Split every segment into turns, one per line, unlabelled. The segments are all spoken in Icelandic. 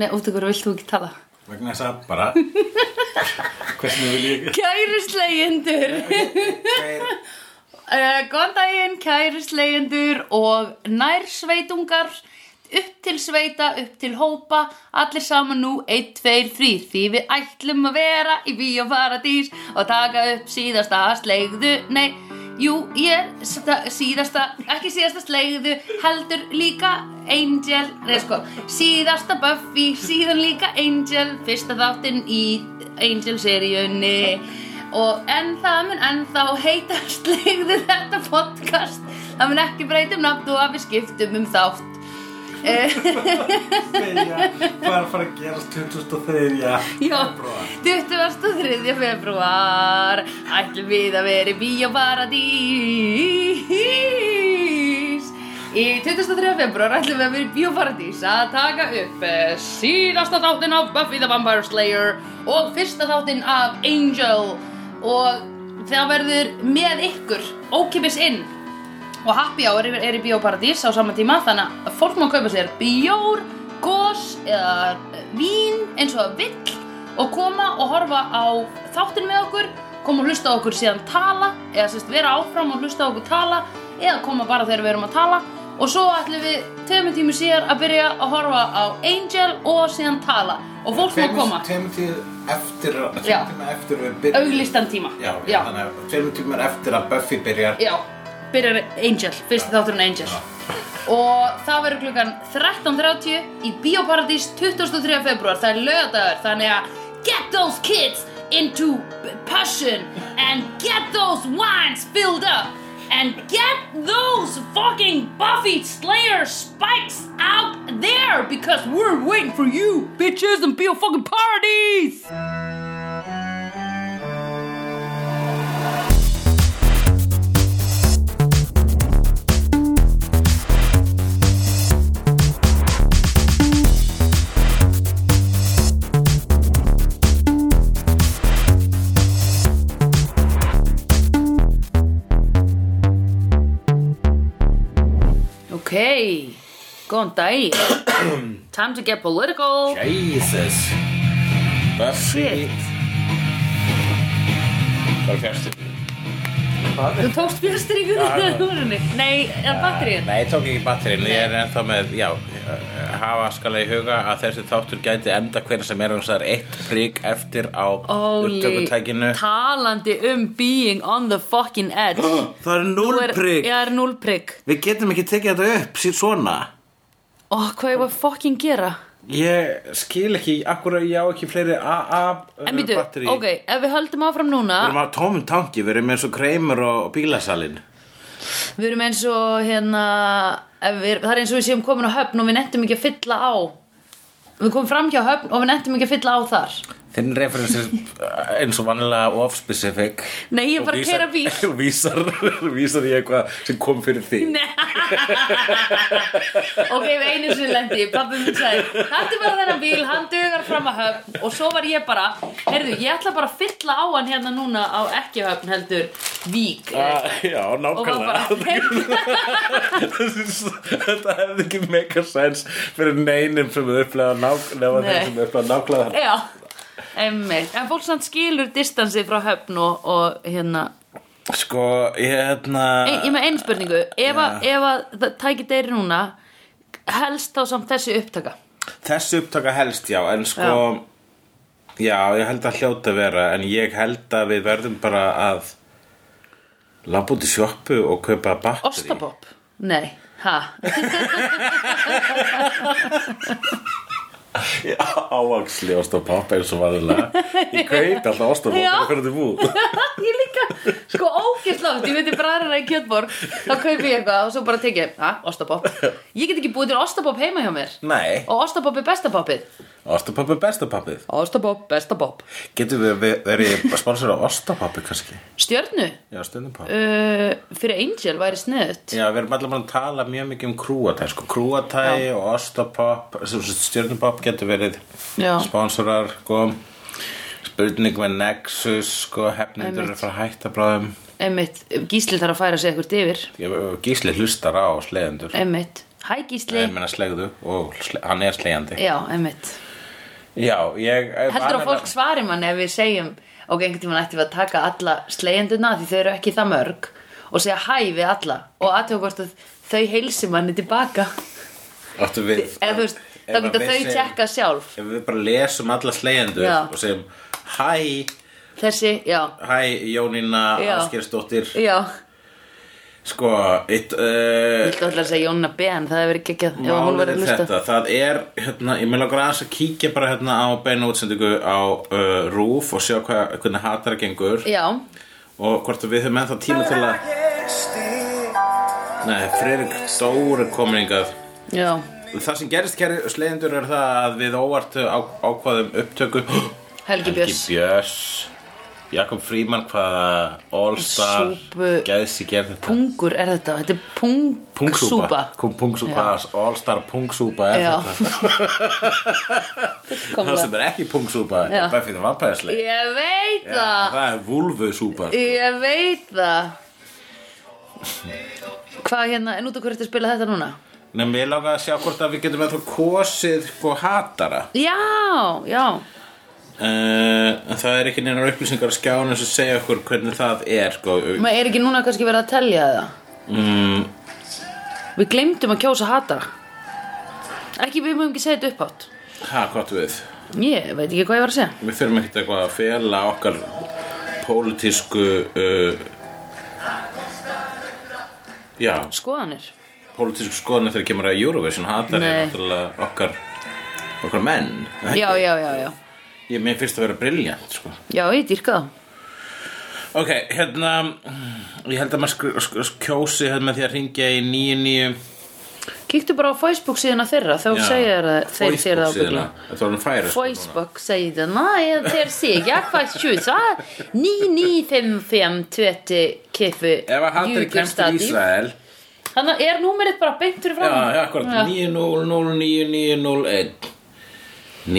Nei, út ykkur vilt þú ekki tala
vegna þess að bara hvernig vil ég
Kæru slegjendur
Hver-
uh, Góðan daginn, kæru slegjendur og nærsveitungar upp til sveita, upp til hópa allir saman nú, 1, 2, 3 því við ætlum að vera í bíóparadís og taka upp síðasta slegðu, nei jú, ég, sta- síðasta ekki síðasta slegðu, heldur líka Angel, nei sko síðasta Buffy, síðan líka Angel, fyrsta þáttinn í Angel-seríunni og en það mun ennþá heita slegðu þetta podcast það mun ekki breyta um nafn og að við skiptum um þátt
segja hvað er að fara að gerast 23.
já,
febrúar?
23. februar ætlum við að vera í bíóparadís í 23. februar ætlum við að vera í bíóparadís að taka upp eh, síðasta þáttinn af Buffy the Vampire Slayer og fyrsta þáttinn af Angel og það verður með ykkur ókipis inn og Happy Hour er, er í Bíóparadís á sama tíma þannig að fólk má kaupa sér bjór, gos eða eh, vín eins og það vill og koma og horfa á þáttin með okkur koma og hlusta á okkur síðan tala eða sérst vera áfram og hlusta á okkur tala eða koma bara þegar við erum að tala og svo ætlum við tveimur tímu síðar að byrja að horfa á Angel og síðan tala og fólk má koma
tveimur tíð eftir að-
Já.
tveimur tíma eftir við byrjum
auglistan tíma
já, já.
já,
þannig að tveimur tímar eftir að Buffy byrjar
já. byrjar Angel, fyrsti þátturinn Angel og það verður klukkan 13.30 í Bíóparadís 23. februar, það er lögadagur þannig að get those kids into p- passion and get those wines filled up and get those fucking Buffy Slayer spikes out there because we're waiting for you bitches and Bíó fucking parties Ok, góðan dag Time to get political
Jesus Buffy
Shit.
Bara fjárstyrk
Þú tókst björstringur
Já, já.
Nei, eða batteríun
Nei, ég tók ekki batterín Ég er ennþá með, já eh, Hafa skal í huga að þessi þáttur gæti enda hverja sem er og það er eitt prík eftir á
Óli,
upptökutækinu
talandi um being on the fucking edge
Það er
Þú
núll
er-
prigg
Já, er núlprygg
Við getum ekki tekið þetta upp síðan svona
Ó, hvað ég var fucking gera?
Ég skil ekki, akkur að ég á ekki fleiri AA eh,
En býtu,
batterí
ok, ef við höldum áfram núna
Við erum að tómum tanki, við erum eins og kreimur og bílasalinn
Við erum eins og hérna ef við, Það er eins og við séum komin á höfn og við nettum ekki að fylla á Við komum fram hjá höfn og við nettum ekki að fylla á þar
Þinn referens er eh, eins og vanlega off-specific
Nei, ég er
Og
bara að
vísar-
keyra bíl.
Og vísar, vísar í eitthvað sem kom fyrir þig
Nei. ok, ef einu sinni lendi ég, pabbi minn sagði Hættu bara þennan bíl, hann dugar fram að höfn Og svo var ég bara, heyrðu, ég ætla bara að fylla á hann hérna núna á ekki höfn heldur Vík eða
Ah, Já,
Og var bara,
nákvæmlega
heyrðu,
Þetta hefði ekki mega sens fyrir neinum sem við upplega nákvæmlega
Nei.
þeir sem við upplega nákvæmlega
já Einmitt, en fólk samt skilur distansið frá höfn og, og hérna
Sko, ég hérna
Ein, Ég með einu spurningu, ef að, ef að það tæki deyri núna Helst þá samt þessi upptaka
Þessu upptaka helst, já, en sko já. ég held að hljóta að vera en ég held að við verðum bara að labba út í sjoppu og kaupa batteri
Ostabopp? Nei, ha?
Já, ávaksli ostapopp eins og varðilega Ég kaupi alltaf ostapopp
Já.
og hvernig búð
ég líka, sko ógeðslátt ég veit ég bræðina í kjötborg þá kaupi ég eitthvað og svo bara tekið, að, ostabopp ég get ekki búið til ostabopp heima hjá mér
Nei,
og ostabopp er bestaboppið
ostapopp er bestapoppið
ostabopp, bestabopp
Getum við við- verið að sponsora ostapoppi kannski?
stjörnu,
Já, stundupopp
uh, fyrir Angel væri sniðut
Já, við erum allir búin að tala mjög mikið um krúatæ sko. Krúatæ og ostapopp Stjörnupopp getur verið
Já.
Sponsorar sko. Spurning með Nexus sko. Hefnindur er
Einmitt.
frá hætta bráðum
einmitt, Gísli þarf að færa sig eitthvað yfir
Gísli hlustar á sleiðendur
einmitt, hæ Gísli
Ég meina slegðu og sle hann er sleiðandi
já, einmitt
Já, ég
Heldur að fólk svari mann ef við segjum Ok, einhvern tímann ættum við að taka alla slegjenduna Því þau eru ekki það mörg Og segja hæ við alla Og aðtöku hvort að þau heilsi manni tilbaka
Áttu við
Eða þú veist, þá
að
geta
við
þau
segjum-
tjekka sjálf
Ef við bara lesum alla slegjendur
Já.
og segjum Hæ,
Þessi, já,
hæ Jónína
Já.
Áskersdóttir
já
Sko, eitt uh,
Viltu alltaf að segja Jónna B en það hefur verið geggjað Ef hún
Málið
var
er
að hlusta
þetta, það er, hérna, ég með langar aðeins að kíkja bara hérna á beina útsendingu á uh, RÚF og sjá hva, hvernig hatara gengur
Já,
og hvort að við höfum ennþá tíma til að, nei, Friðrik Dór er komin hingað
já,
Það sem gerist, kæri slegjendur, er það að við óvart eh, á, ákvaðum upptöku
Helgi Björns
Björns Jakob Fríman, hvaða All-Star,
Súpu-
gæðs í gerð þetta
Pungur er þetta, þetta er pung...
Pungsúpa,
súpa.
Kom- pungsúpa, All-Star pungsúpa er
Já,
þetta Það sem
fullkomlega
er ekki pungsúpa
Já.
er Buffy the Vampire Slayer
Ég veit það
Það er vulvusúpa
Ég veit það Hvað hérna, en út af hverju ertu að spila þetta núna?
Nei, mér langar að sjá hvort að við getum eða kosið sko hatara
Já, já
uh, En það er ekki neinar upplýsingar að skjána sem segja okkur hvernig það er sko
Maður er ekki núna kannski verið að telja það
mm,
Við glemdum að kjósa hatara Ekki, við mögum ekki segja þetta upphátt
Ha, hvað þú við?
Ég veit ekki hvað ég var að segja
Við þurfum ekkert eitthvað að fela okkar pólitísku uh, Já,
Skoðanir
pólitísku skoðinu þegar kemur að Eurovision hatari er
Nei.
náttúrulega okkar okkar menn ekki?
Já, já, já, já
Ég mér finnst að vera briljant sko
Já, ég dýrka það
Ok, hérna Ég held að maður sk- sk- sk- kjósi hérna með því að ringja í 99
Kíktu bara á Facebook síðuna þeirra Þá
Já.
segja þeir þeir sér það
síðuna.
ábyggla
Þetta var sko hann færi
Facebook segir það Næ, ég- þeir segja hvað kjósa 995520 kiffu
Ef að hattir kemst til Ísrael
Þannig er númerið bara beint fyrir
Já,
fram
já, akkurat
Ah.
9009901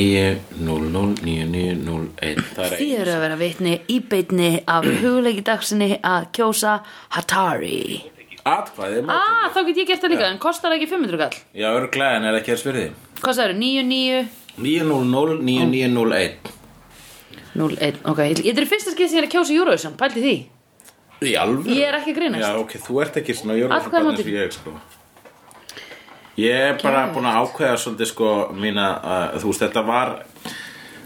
9009901 Það er
Þið eru að vera vitni í beitni af hugleiki dagsinni að kjósa Hatari.
atkvæði
Ah, þá get ég gert það líka, en kostar ekki 500 kall.
Já, örglega en er ekki þess virði
Kostar eru 9901,
9009901
ok. Ég- Þetta er fyrsta skil sem ég er að kjósa í Eurovision, pælti því.
Í alveg
Ég er ekki að grínast.
Já, ok, þú ert ekki svona
Atkvæðamótið.
jörgum eins og ég, sko Ég er bara
Geðveikt.
búin að ákveða svolítið, sko, mína uh, þú veist, þetta var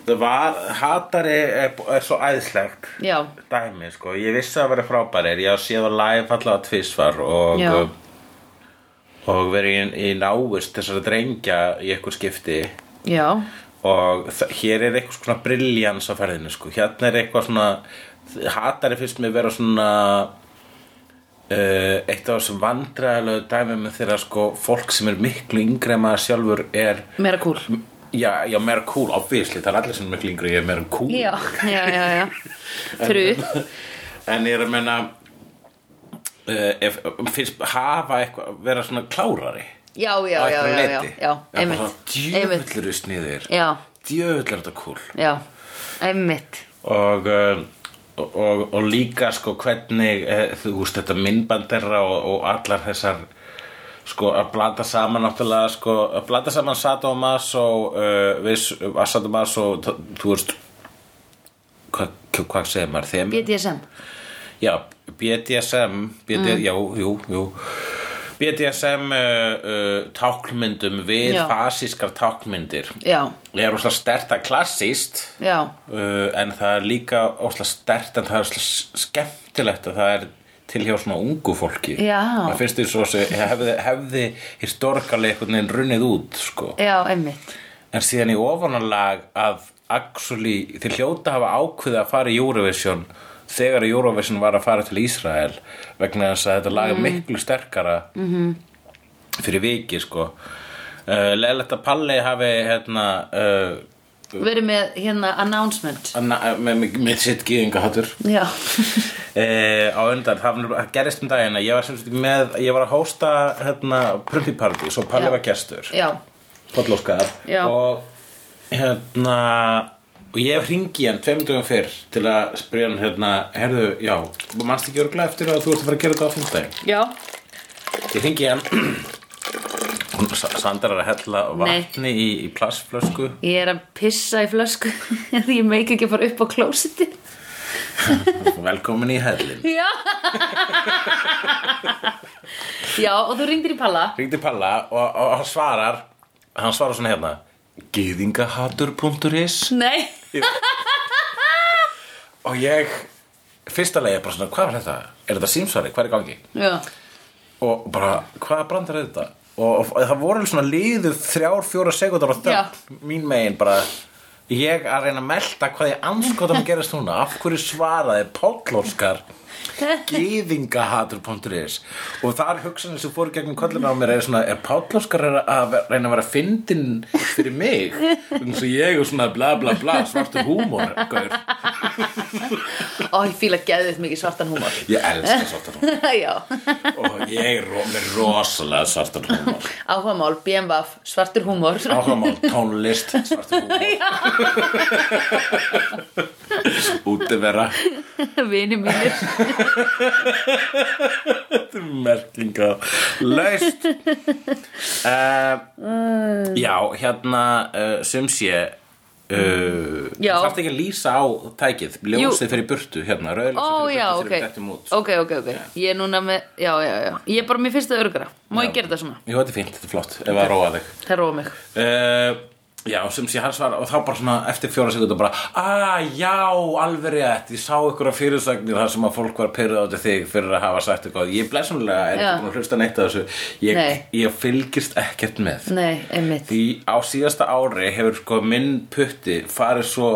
þetta var, hatari er, er svo æðslegt
Já,
dæmi, sko, ég vissi að vera frábærir ég á séð að live allavega tvisvar og
Já.
og verið í, í návist þessar að drengja í eitthvað skipti
já,
og þa- hér er eitthvað svona briljans á ferðinu sko. hérna er eitthvað svona hatari finnst mér vera svona uh, eitt af þessum vandræðalegu dæmum þegar sko fólk sem er miklu yngri en maður sjálfur er
meira kúl.
já, já meira cool, obviously, það er allir sem er miklu yngri ég er meira cool
Já, já, já, já. Trú,
en ég er að menna uh, ef, finnst hafa eitthvað vera svona klárari
já, já, já, já, já, já, einmitt, einmitt,
djöfullur sniðir
já,
djöfullur er þetta cool
já, einmitt,
og, um, og, og, og líka sko hvernig eh, þú veist þetta myndbanderra og, og allar þessar sko að blanda saman náttúrulega sko að blanda saman Sadomas og uh, viss, Sadomas og t- þú veist hvað hva segir maður þeim
BDSM.
já, BDSM BD, já, jú, jú BDSM uh, uh, táknmyndum við
Já.
fasískar táknmyndir
Já,
ég er rosalega stert að klassist
já,
uh, en það er líka óslega stert en það er óslega skemmtilegt að það er til hjá svona ungu fólki
Já.
það finnst því svo sem hefði, hefði historikali einhvern veginn runnið út sko.
já, einmitt,
en síðan í ofanálag að actually, þeir hljóta hafa ákveðið að fara í Eurovision þegar Eurovision var að fara til Ísrael vegna þess að þetta lag er miklu sterkara -hmm. fyrir viki sko. uh, leðilegt að Palli hafi hérna uh,
verið með hérna announcement
anna- með, með, með sitt gýðingahattur
Já,
Eh, á undan, það var- það gerist um daginn að ég var sem sagt með, ég var að hósta hérna, Prumpi Party, svo Palli
Já.
var gestur
já,
Pollóskar
Já.
og hérna og ég hringi hann tveim dögum fyrr til að spyrja hann hérna, herðu, já mannst ekki örglega eftir að þú ert að fara að gera þetta á fimmtudaginn
já,
ég hringi hann og hún- Sa- Sandra er að hella vatni í, í plastflösku
Ég er að pissa í flösku því ég meik ekki að fara upp á klósiti
velkomin í hellin
Já Já, og þú ringdir í Palla
Ringdi Palla og, og, og hann svarar hann svarar svona hérna gyðingahatur.is
Nei
og ég fyrsta leið er bara svona hvað er þetta? Er þetta símsvari? Hvað er í gangi?
Já,
og bara hvað brandar er þetta? Og, og það voru svona liður þrjár, fjóra sekundar og þögn mín megin bara ég að reyna að melta hvað ég anskotum gerist núna af hverju svaraði Póllóskar gýðingahatur.is og þar hugsanir sem fóru gegnum kollin á mér er svona er Póllóskar að ver- reyna að vera fyndin fyrir mig eins og ég og svona bla bla bla svartur húmor gaur.
ó, ég fíla geðið mikið svartan húmor
ég elska svartur húmor
Já,
og ég er ro- með rosalega svartur húmor
áhugamál, BMV, svartur húmor
áhugamál, tónlist, svartur húmor útivera
Vini mínir
merkinga laust uh, já, hérna uh, sem sé Uh,
Já.
þarf ekki að lýsa á tækið ljósið fyrir burtu hérna rauðljósið
Ó,
fyrir
já, ok
burtu þegar við dettum út sko.
Ok, ok, ok Ég er núna með, já, já, já Ég er bara, mér finnst það örgra Má ég gera það svona?
Jú, þetta er fínt, þetta er flott ef að róa þig
Það róa mig
uh, Já, sem sé hans var og þá bara svona eftir fjóra sekundar bara Ah, já, alveg rétt, ég sá ykkur af fyrirsagnir þar sem að fólk var pyrrað átti þig fyrir að hafa sagt eitthvað Ég blessunlega er
Já.
ekki búin að hlusta neitt að þessu ég,
Nei.
ég fylgist ekkert með
Nei, einmitt
Því á síðasta ári hefur sko minn putti farið svo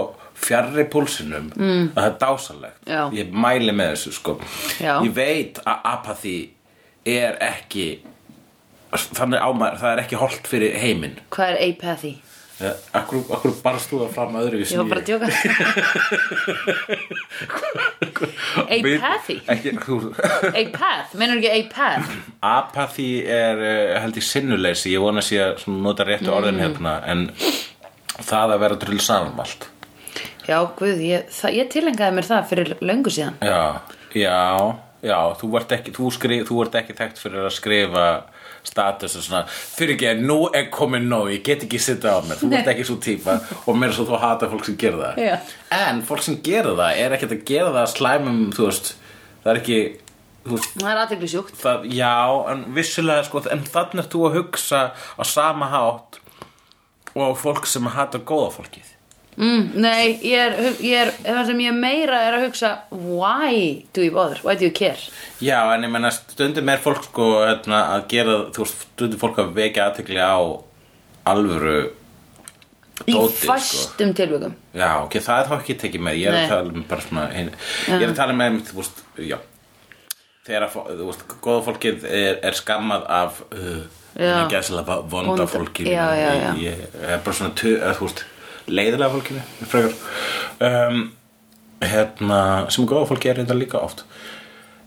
fjarrri púlsinum mm. að það er dásanlegt
Já.
Ég mæli með þessu sko
Já.
Ég veit að apathy er ekki þannig á maður, það er ekki holt fyrir heiminn
Hvað er apathy?
Eh, Akkur, akkur barst þú það fram öðruvísi
Ég var bara að djóka Apathy?
Ekki, þú-
Apath, mennur ekki apath
Apathy er eh, held ég sinnuleysi Ég vona að sé að svona nota réttu
Mm.
orðin hérna En það að vera drull saman um allt
Já, guð, ég, það, ég tilengaði mér það fyrir löngu síðan
Já, já, já Þú ert ekki, þú skri, þú ert ekki þekkt fyrir að skrifa status og svona fyrir ekki að nú er komin nóg ég get ekki sitta á mér, þú ert ekki svo típa og mér er svo þú hata fólk sem gera það
Já.
en fólk sem gera það er ekkert að gera það slæmum, þú veist það er ekki, þú veist
Það er aðtekli sjúkt
það, já, en vissulega sko, en þannig ert þú að hugsa á sama hátt og fólk sem hata góða fólkið
mm, Nei, ég er, ég er, það sem ég meira er að hugsa Why do you bother? Why do you care?
já, en ég menna stundum er fólk sko hérna, að gera, þú veist, stundum fólk að vekja aðtekli á alvöru
Í
Dótið, sko.
fastum tilvikum
já, ok, það er þá ekki tekið með ég
Nei.
er að tala um bara svona hin, ég er að tala með, þú veist, já þegar að, fó- þú veist, góða fólkið er, er skammað af uh,
Já.
gæslega vonda
Vonda-
fólkinu
já, já, já.
Ég- ég er bara svona tu, eða, þú veist, leiðilega fólkinu frekar um, hérna, sem góða fólki er þetta líka oft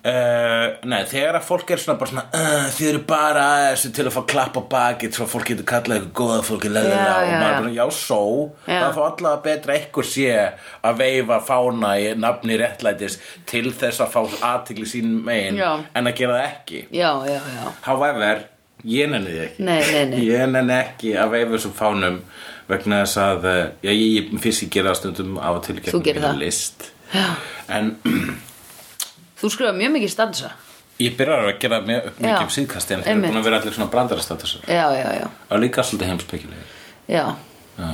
Uh, nei, þegar að fólk er svona bara svona uh, þið eru bara að þessu til að fá klapp á bakið svo að fólk getur kallað eitthvað góða fólki la, la, la,
Já,
og
já,
maður
já.
bara, já, só
Já.
það er þá allavega betra að einhver sé að veifa fána í nafni réttlætis til þess að fá aðtigli sín megin
Já.
en að gera það ekki
Já, já, já
However, ég nenni því ekki
Nei, nei, nei.
Ég nenni ekki að veifa þessum fánum vegna þess að eh, já, ég, ég fyrst ég gera það stundum á
Þú gerir
tilgjöfnum
það.
list
Já.
En
Þú skrifa mjög mikið stansa
ég byrjar að gera mjög
Já.
mikið um síðkast en þeir eru
Einmitt.
búin að vera allir svona brandarastatusar
Já, já, já,
og líka svolítið heimspekilegir
já.
Já.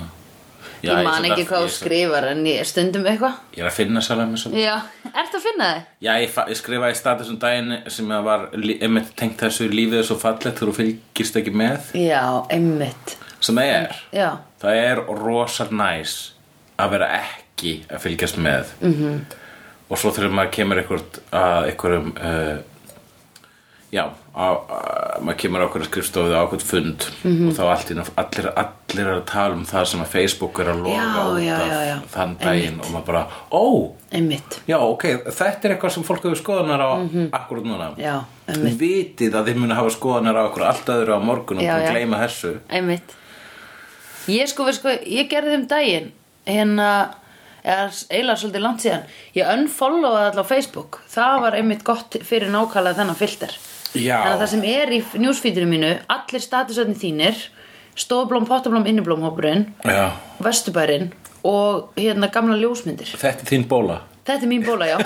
Já,
Ég man
samt
ekki
að-
hvað
ég
þú
samt-
skrifar en ég stundum eitthvað
Ég er að finna sjálf mér svolítið
Já, ertu að finna þið?
Já, ég, fa- ég skrifaði status um daginn sem að var lí- einmitt tengt þessu lífið er svo fallegt þegar þú fylgist ekki með
Já, einmitt
sem það er
Já,
það er rosal næs að vera ekki að fylgjast með
Mhm.
-hmm. og svo þegar maður kemur eitthvað að einhverjum uh, já á, á, maður kemur á okkur skrifstofið á okkur fund
Mhm.
-hmm. og þá allt í einu- allir, allir er að tala um það sem að Facebook er að
Já,
loga út
já,
af
já, já.
þann daginn og maður bara, ó
einmitt
Já, ok, þetta er eitthvað sem fólk hefur skoðanar á mm akkurat núna.
Mhm. Já, einmitt.
Vitið að þið munu hafa skoðanar á okkur allt öðru á morgun og
Já,
búin
já.
að gleyma þessu.
Einmitt Ég sko, við sko, ég gerði þeim daginn hérna, eða eiginlega svolítið langt síðan, ég unfollowaði allavega á Facebook það var einmitt gott fyrir nákvæmlega þennan filter Þannig
Já,
að það sem er í newsfeedinu mínu, allir statusöfni þínir, stofublóm, pottablóm, inniblóm hópurinn,
já.
vesturbærin og hérna gamla ljósmyndir.
Þetta er þín bóla
Þetta er mín bóla, já.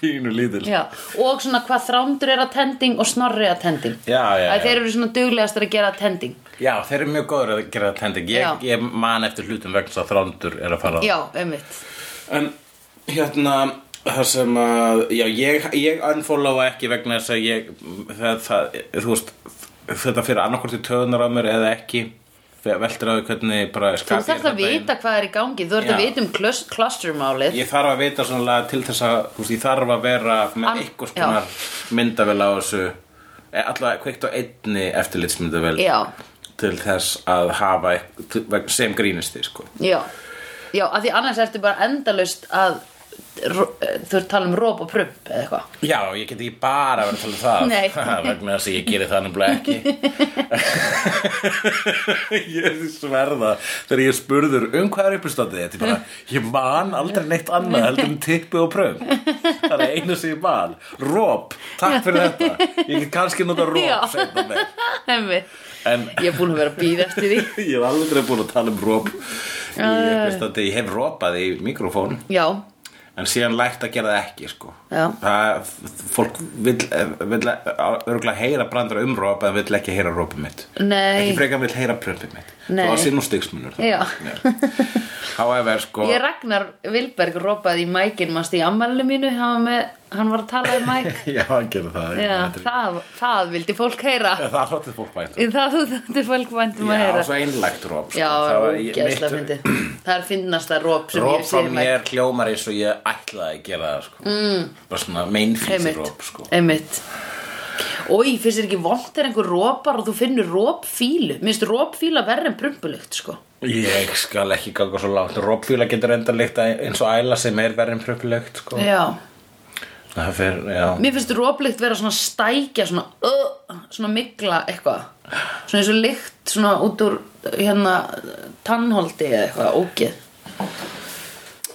Pínu lítil
já. Og svona hvað þrándur er að tending og snorri að tending.
Já, já,
Að
já.
þeir eru svona duglegastir að gera að tending.
Já, þeir eru mjög góður að gera tending
Já.
ég, ég man eftir hlutum vegna þess að þrándur er að fara
Já, einmitt.
En hérna Það sem að, já, ég, ég unfollowa ekki vegna þess að ég, það, það, þú veist, þetta fyrir annarkvort í töðunar á mér eða ekki, þegar veltir á því hvernig bara
Þú
skapi
þarft að vita hvað er í gangi, þú ert að
hérna, Já.
vita um clus- clustermálið.
Ég þarf að vita svona lag til þess að, þú veist, ég þarf að vera með
An-
einhvers konar myndavél á þessu, eh, allavega kveikt á einni eftirlitsmyndavél
Já.
til þess að hafa eit- til- veg- sem grínisti, sko.
Já, já, af því annars ertu bara endalaust að ro- þú ert að tala um róp og prump eða eitthvað
Já, ég get ekki bara verið að tala um
Nei.
það vegna þess að ég geri það nefnilega ekki Ég sverða þegar ég er spurður um hvað er uppistandið þetta er bara, ég man aldrei neitt annað heldur en tippi og pröf Það er einu sem ég man Róp, takk fyrir þetta Ég get kannski nota
Já.
róp seinna meir.
Einmitt.
En
Ég er búin að vera að býða eftir því
ég hef aldrei búin að tala um róp í uppistandið, ég hef rópað í mikrofón
Já,
en síðan lægt að gera það ekki sko.
Já.
það, fólk eh, vil, vil örgulega heyra brandara um róp en vil ekki heyra rópum mitt
nei
ekki frekar vil heyra prömpum mitt
Nei.
það sé nú stigsmunur
Já.
however sko
Ég Ragnar Vilberg rópaði í mækinn mannst í ammælinu mínu hann var, með, hann var að tala um mæk
já, hann gerir það
Já,
Þetta er-
það, það vildi fólk heyra
það hlotið fólk bænt
Það þú þetta fólk væntum að
já,
heyra
svo einlægt róp sko.
Já,
Það var- ég-
ógeðslega
mitt-
fyndi Það er fyndnasta róp sem
róp
ég
frá
sé í mæk
mér hljómar eins og ég ætlaði að gera það sko. mm. bara svona mainfísi róp sko.
einmitt Ói, finnst þér ekki vont þegar einhver rópar og þú finnur rópfílu Minnst rópfíla verri en prumpulugt, sko
Ég skal ekki ganga svo langt Rópfíla getur enda líkt eins og æla sem er verið en pröpulegt sko.
Já
Það fer, já
Mér finnst róplugt vera svona stækja, svona uh, svona migla eitthvað Svona eins og lykt svona út úr hérna tannholdi eða eitthvað, ógeð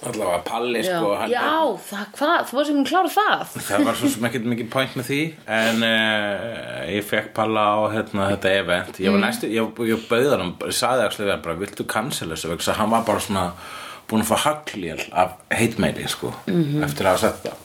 Allavega Palli
Já,
sko hann,
Já það, hvað, þú varst ekki að klára það
Það var svo sem ekkert mikið point með því En uh, ég fekk Palla á hérna, þetta event Ég var
Mm.
næstu, ég, ég bauði hann Ég saði axlega við hann bara, viltu cancel þessu Vegna þess að hann var bara svona búinn að fá hagljál af heitmeili sko
Mhm.
Eftir að hafa sett það -hmm.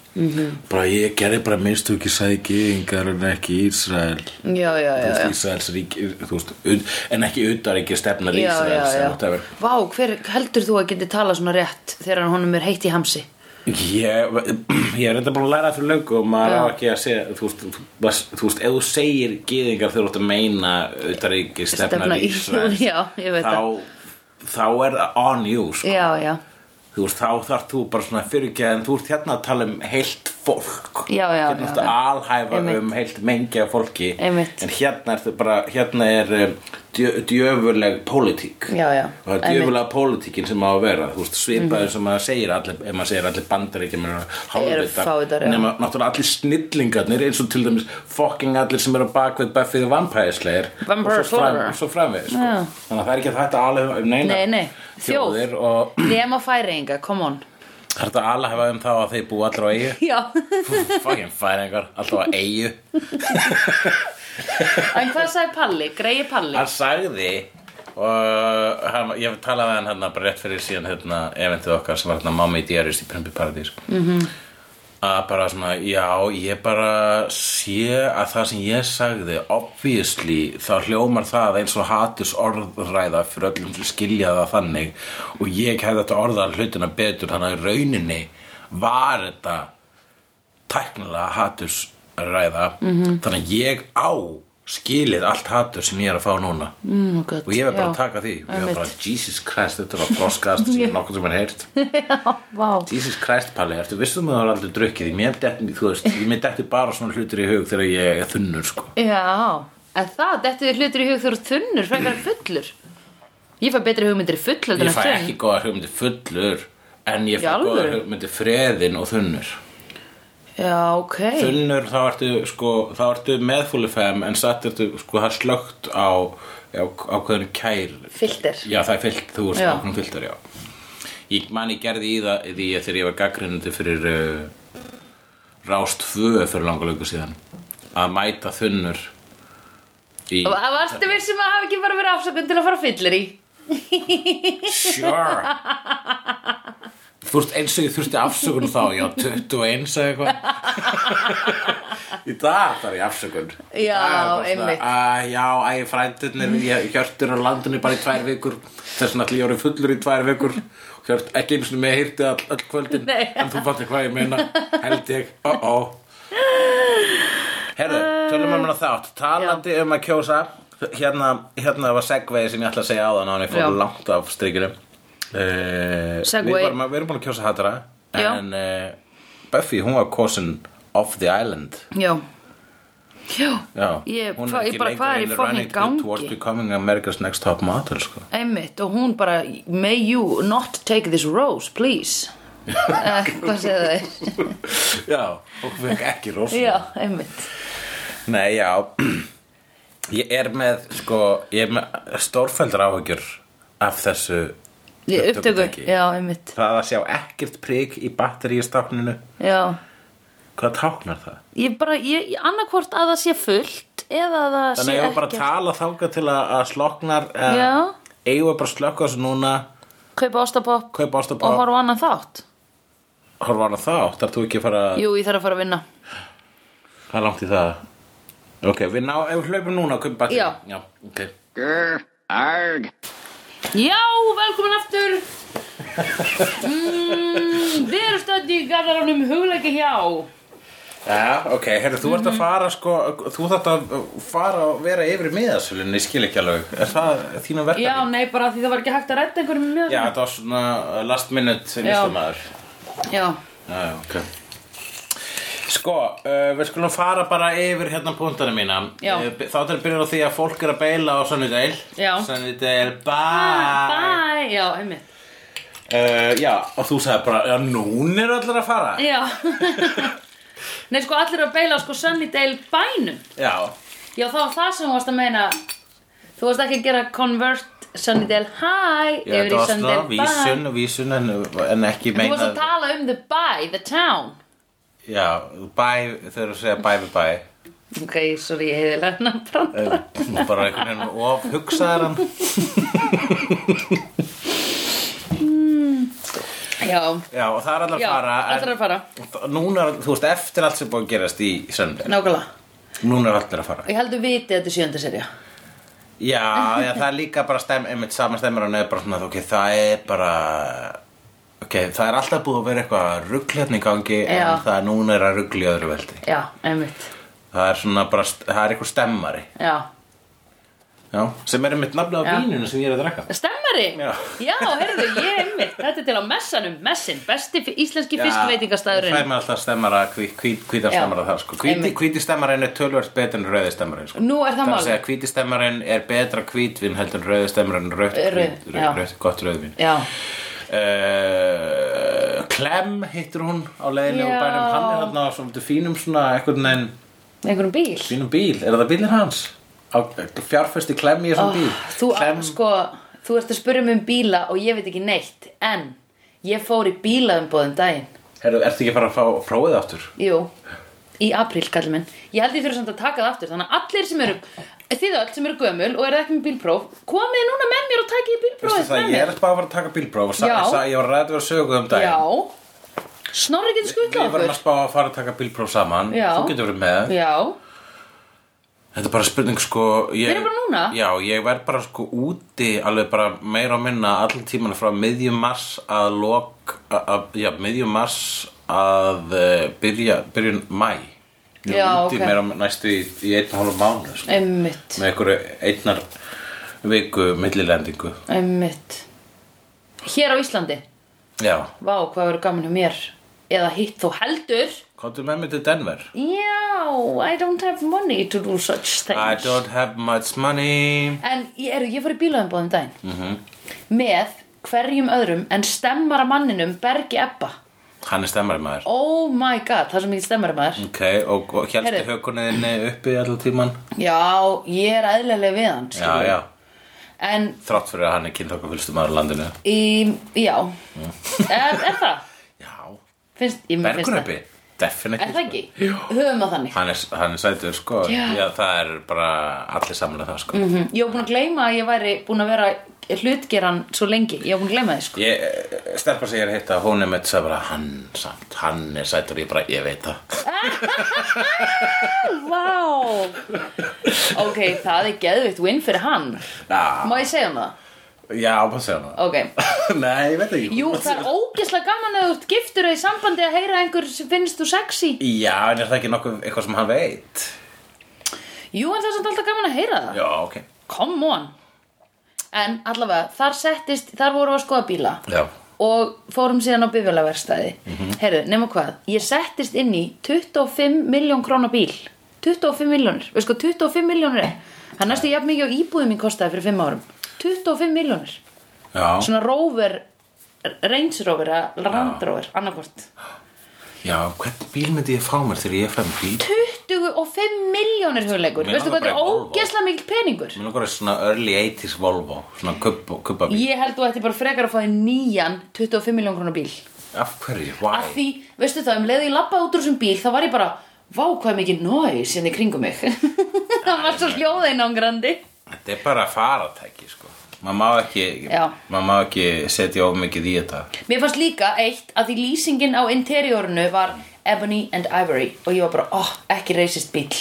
Bara ég gerði bara mistök, ég sagði gyðingar en ekki Ísrael
Já, já, já, já.
Ísraels ríki, þú veist, ut- en ekki utaríkja stefnar
já, já,
Ísraels
já.
eða whatever.
Vá, hver heldur þú að geti tala svona rétt þegar honum er heitt í hamsi?
Sko. Ég, ég er reynda búin að læra það fyrir löngu og maður
Já.
á ekki að segja þú veist, þú, varst- þú veist, ef þú segir gyðingar þegar þú ert að meina utaríki stefna
Stefna í-
Ísraels
Já, ég veit það.
þá, þá er það on you sko.
Já, já,
þú veist, þá þarf þú bara svona fyrirgeða en þú ert hérna að tala um heilt fólk
Já, já,
hérna
já,
ertu
já.
alhæfa
Einmitt.
um heilt mengi af fólki
Einmitt.
en hérna er, bara, hérna er um, djö, djöfuleg pólitík
Já, já, Mhm.
og það er djöfulega pólitíkin sem á að vera þú veist, svipaður sem maður segir allir ef maður segir allir bandar ekki
fávitar, já.
nema náttúrulega allir snillingarnir eins og til dæmis fucking allir sem eru á bakvið Buffy the Vampire Slayer
Vampire
og svo, fram,
Slayer.
svo framvegis sko.
Já.
þannig að það er ekki hægt að alveg um neina
Nei, nei, þjóð.
þjóðir og
nema færinga, come on
Það er þetta alhafa um þá að þeir búa allir á eigu
Já,
Fucking færingar, alltaf á eigu
en hvað sagði Palli, greiði Palli
Hann sagði og uh, hann, ég talaði við hann hérna bara rétt fyrir síðan hérna eventið okkar sem var hérna Mamma í Diarist í Prumpi Paradís mm -hmm. að bara svona, já, ég bara sé að það sem ég sagði obviously, þá hljómar það eins og hatus orðræða fyrir öllum til skilja það þannig og ég hefði þetta orðað hlutina betur þannig að í rauninni var þetta tæknilega hatursræða -hmm. þannig að ég á skilið allt hatur sem ég er að fá núna
mm, gott,
og ég verð bara
já.
að taka því og ég verð bara,
Einmitt.
Jesus Christ, þetta var broskast sem ég nokkuð sem hann heyrt
Vá,
Jesus Christ, Palli, ertu vissum að það var aldrei drukkið Ég mér detti, þú veist, ég mér detti bara svona hlutir í hug þegar ég er þunnur, sko
já En það, þetta er hlutur í hug þegar þú ert þunnur, frekar en fullur Ég fæ betri hugmyndir í fullur
Ég
en
fæ
þunn.
ekki góða hugmyndi fullur en ég
Í
fæ
alvöru?
góða hugmyndi freðin og þunnur
Já, ok
Þunnur, þá ertu, sko, þá ertu með full FM en satt ertu, sko, það er slögt á, á ákveðinu kær
Filter.
Já, það er filter, þú veist,
Já.
ákveðinu filter, já Ég man ég gerði í það í því eh, að þegar ég var gaggrinandi fyrir uh, Rást 2 fyrir langa löngu síðan að mæta þunnur í
Og varstu vissum að hafa ekki bara verið afsökun til að fara fyllir í?
Sure Þú veist eins og ég þurfti afsökun þá Já, 21 eða eitthvað Í dag þarf ég afsökun Í
Já,
dag er bara svona,
einmitt.
"Æ, Já, æ, frændurnir ég- Hjörtur á landinu bara í tvær vikur Þess vegna allir ég orðið fullur í tvær vikur Hjört, ekki einu sinni með hirti all, all kvöldin
Nei.
En þú fattir hvað ég meina Held ég, oh oh Herðu, tölum um hana þátt Talandi um að kjósa Hérna, hérna var segvei sem ég ætla að segja áðan á hann ég fór
Já.
langt af strikinu uh,
Segway.
Við, varum, að- við erum búin að kjósa hattara
Já.
En uh, Buffy, hún var kosin off the island
Já. Já.
Já,
Ég-
hún
hva- ég bara, hvað er í
in the
fucking
running
gangi?
Towards becoming America's next top model sko.
Einmitt, og hún bara May you not take this rose, please Eh, Hvað segðu þeir?
Já, og við ekki rosa
Já, einmitt
Nei, já Ég er með, sko, ég er með stórfældar áhugjur af þessu
Ég upptöku,
upptökutæki.
já, einmitt
Það að sjá ekkert prik í batteríustákninu
Já,
Hvað táknar það?
ég bara, ég, annarkvort að það sé fullt eða að það
Þannig
sé
að
ekkert
ég bara að tala þangað til að, að sloknar eða
Já.
eigum við bara að slökka þessu núna
Kaupa ostapopp
Kaupa ástapá
og
horfa
horfa á annan þátt
hann að það Þar þú ekki að fara
Jú, ég þarf að fara að vinna
Það er langt í það Ok, við ná, ef við hlaupum núna að kaupa batterí
Já.
Já, ok
Grr, arg.
Já, velkomin aftur mm, Við erum stöndi í garðarónum hugleiki hjá
Já, ok, herru, þú
Mhm.
ert að fara sko, þú þart að fara og vera yfir í miðasölunni, ég skil ekki alveg Er það þínu verkefni?
Já, nei, bara því það var ekki hægt að redda einhverjum með
Já, þetta var svona uh, last minute listamæður
Já,
Já, já, ok Sko, uh, við skulum fara bara yfir hérna púntana mína
Já.
uh, Þá þetta er byrjað á því að fólk er að beila á Sunnydale
Já.
Sunnydale,
Ah,
bye
Bye, já, einmitt
uh, Já, og þú sagði bara, já, núna eru allir að fara
Já Nei, sko allir eru að beila á, sko Sunnydale bænum
Já,
Já, það var það sem þú varst að meina Þú varst ekki að gera convert Sunnydale high
já
yfir í
þetta var svona
Sunnydale bæ
vísun, vísun en, en ekki
Þú varst
meina
að tala um the bæ, the town
Já, bye, þau eru að segja bye, bye, bye
Ok, sorry, ég hefði lærna brandra
Nú bara einhvern veginn of hugsaðar hann
Já,
Já, og það er allir
já,
að fara en-
allir eru að fara
Núna, er- þú veist, eftir allt sem búið að gerast í Sunnydale
Nákvæmlega
Núna er allir að fara
Ég heldur viti að þetta er sjönda serja
Já, já það er líka bara stem, einmitt saman stemmur og bara svona, ok, það er bara ok, það er alltaf búið að vera eitthvað rugl hérna í gangi
Já.
en það er núna er að rugl í öðru veldi
Já, einmitt
það er svona bara, st- það er eitthvað stemmari
Já
já, sem er einmitt nafnið á
Já.
vínunum sem ég er að drekka
Stemmari?
Já.
Já, heyrðu, ég einmitt Þetta er til á messanum, messin Besti f- íslenski
Já,
fiskveitingastæðurinn
Fær mig alltaf stemmara, hví, hví, hvítar
Já.
stemmara það sko. Hvíti,
Einmitt.
hvíti stemmarinn er tölvöld betur en rauði stemmarinn sko.
Nú er það
Það er
málið.
að segja hvíti stemmarinn er betra hvítvin heldur en rauði stemmarinn rauð,
Rauð,
hvít,
já.
rauð, rauð, gott rauðvin
Já
uh, Klem hittir hún á leiðinu
Já.
og bænum hann er hann á svona fínum svona einhvern veginn
einhverjum bíl
fínum bíl, er það bílinn hans? Á, fjárfesti klem í þessum
oh,
bíl
þú,
klem,
sko, þú ert að spyrja mig um bíla og ég veit ekki neitt en ég fór í bílaumbóðum daginn
herru, ertu ekki að fara að fá prófið aftur?
jú, í apríl kallið minn ég held ég þurfa samt að taka það aftur þannig að allir sem eru, þið öll sem eru gömul og eru ekki með bílpróf, komið núna með mér og takið
Veistu
bílprófið
það,
með
ég
mér
er bara að fara að taka bílpróf og sa,
Já.
sa, ég var ræðið að sögu um daginn
já, snorri getur skutlað
Við varum
okkur
að spá að fara að taka bílpróf saman
Já.
Þú getur verið með
já,
Þetta er bara spurning sko ég,
Við erum bara núna?
Já, ég verð bara sko úti alveg bara meira og minna allan tíman frá miðjum mars að lok að, að- Já, miðjum mars að uh, byrja, byrjun mæ Ég
Já,
er úti
ok.
meira og minna næstu í, í einn og hálf mánu sko.
einmitt
Með einhverju einnar viku millilendingu
einmitt hér á Íslandi,
Já,
vá, hvað verður gaman hjá mér eða hitt þú heldur
komdu með mig til Denver
Já, I don't have money to do such
I
things
don't have much money
En ég, er, ég fór í bílaðumbóðum daginn
Mhm.
Með hverjum öðrum en stemmara manninum Bergi Ebba
Hann er stemmari maður
Oh my god, það sem ég stemmara maður
Ok, og, og helstu
Heyrðu.
hökunniðinni uppi allan tíman?
Já, ég er aðlega við hann
Mm. Já,
skilurðu.
já,
En
þrátt fyrir að hann er kynþokkafylstu maður á landinu
í, já er, er það?
Já,
Finnst, ég- mér finnst það.
bergunöppi definitely
Er það ekki?
sko. Jú.
Höfum að þannig
hann er, hann er sætur sko
Já.
Já, það er bara allir samlega það sko
Mhm. Ég var búin að gleyma að ég væri búin að vera hlutgeran svo lengi Ég var búin að gleyma þið sko
ég, eh, stelpa sem ég er að hitta hún er með þess að bara hann samt hann er sætur, ég bara, ég veit það
Vá Ok, það er geðvitt win fyrir hann
Já,
Má ég segja um það?
já, bara segja hann
Ok
Nei, ég veit ekki
Jú, það er ógeðslega gaman að þú ert giftur og í sambandi að heyra einhver sem finnst þú sexy
Já, en er það ekki nokkuð eitthvað sem hann veit
Jú, en það er samt alltaf gaman að heyra það
Já, ok
Come on En allavega, þar settist, þar vorum við að skoða bíla
Já,
og fórum síðan á bifjölaverstaði mm -hmm. Herðu, nema hvað, ég settist inn í 25 miljón krónar bíl 25 miljónir, veist sko 25 miljónir er Það er næstu jafn mikið á íbúðum mín kostaði fyrir 5 árum 25 miljónir
já,
Svona rover, Range Rover eða Land Rover, annarkvort
já, hvern bíl myndi ég fá mér þegar ég er fram bíl?
25 miljónir hugleikur,
Mér
veistu
langar
hvað þetta er
bara í Volvo.
ógeðslega mikil peningur
Mér langar að svona early 80s Volvo, svona kubba, kubba bíl
Ég held þú ætti bara frekar að fá þér nýjan 25 miljón krónar bíl
Af hverju, why?
að því, veistu það, um leiði ég labbaði út úr þessum bíl þá var ég bara, vá hvað mikið noise hérna í kringum mig það var svo hljóðeinangrandi
Þetta er bara faratæki sko Maður má ekki,
Já.
maður má ekki setja of mikið í þetta
mér fannst líka eitt að því lýsingin á interiorinu var Ebony and Ivory og ég var bara, oh, ekki reisist bíl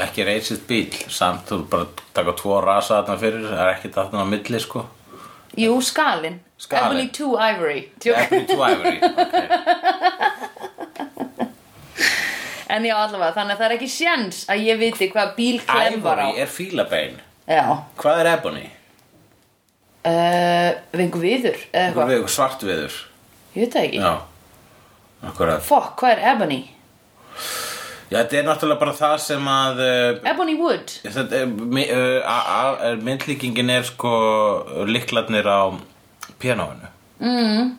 Ekki reysið bíl, samt þú bara taka tvo rasa þarna fyrir Það er ekki þarna á milli sko
jú, skalin,
Skalinn.
Ebony to Ivory Tjók.
Every to every okay.
en já, allavega, þannig að það er ekki sjens að ég viti hvað bíl klem var á
Ivory er fílabein
já,
Hvað er ebony?
uh, vengu viður eða eitthvað,
Við svartviður
ég veit það ekki
Já Akkurat
fuck, hvað er Ebony?
Já, þetta er náttúrulega bara það sem að uh,
Ebony Wood
Þetta er, mi- uh, a- a- er myndlíkingin er sko líklarnir á pianóinu mm.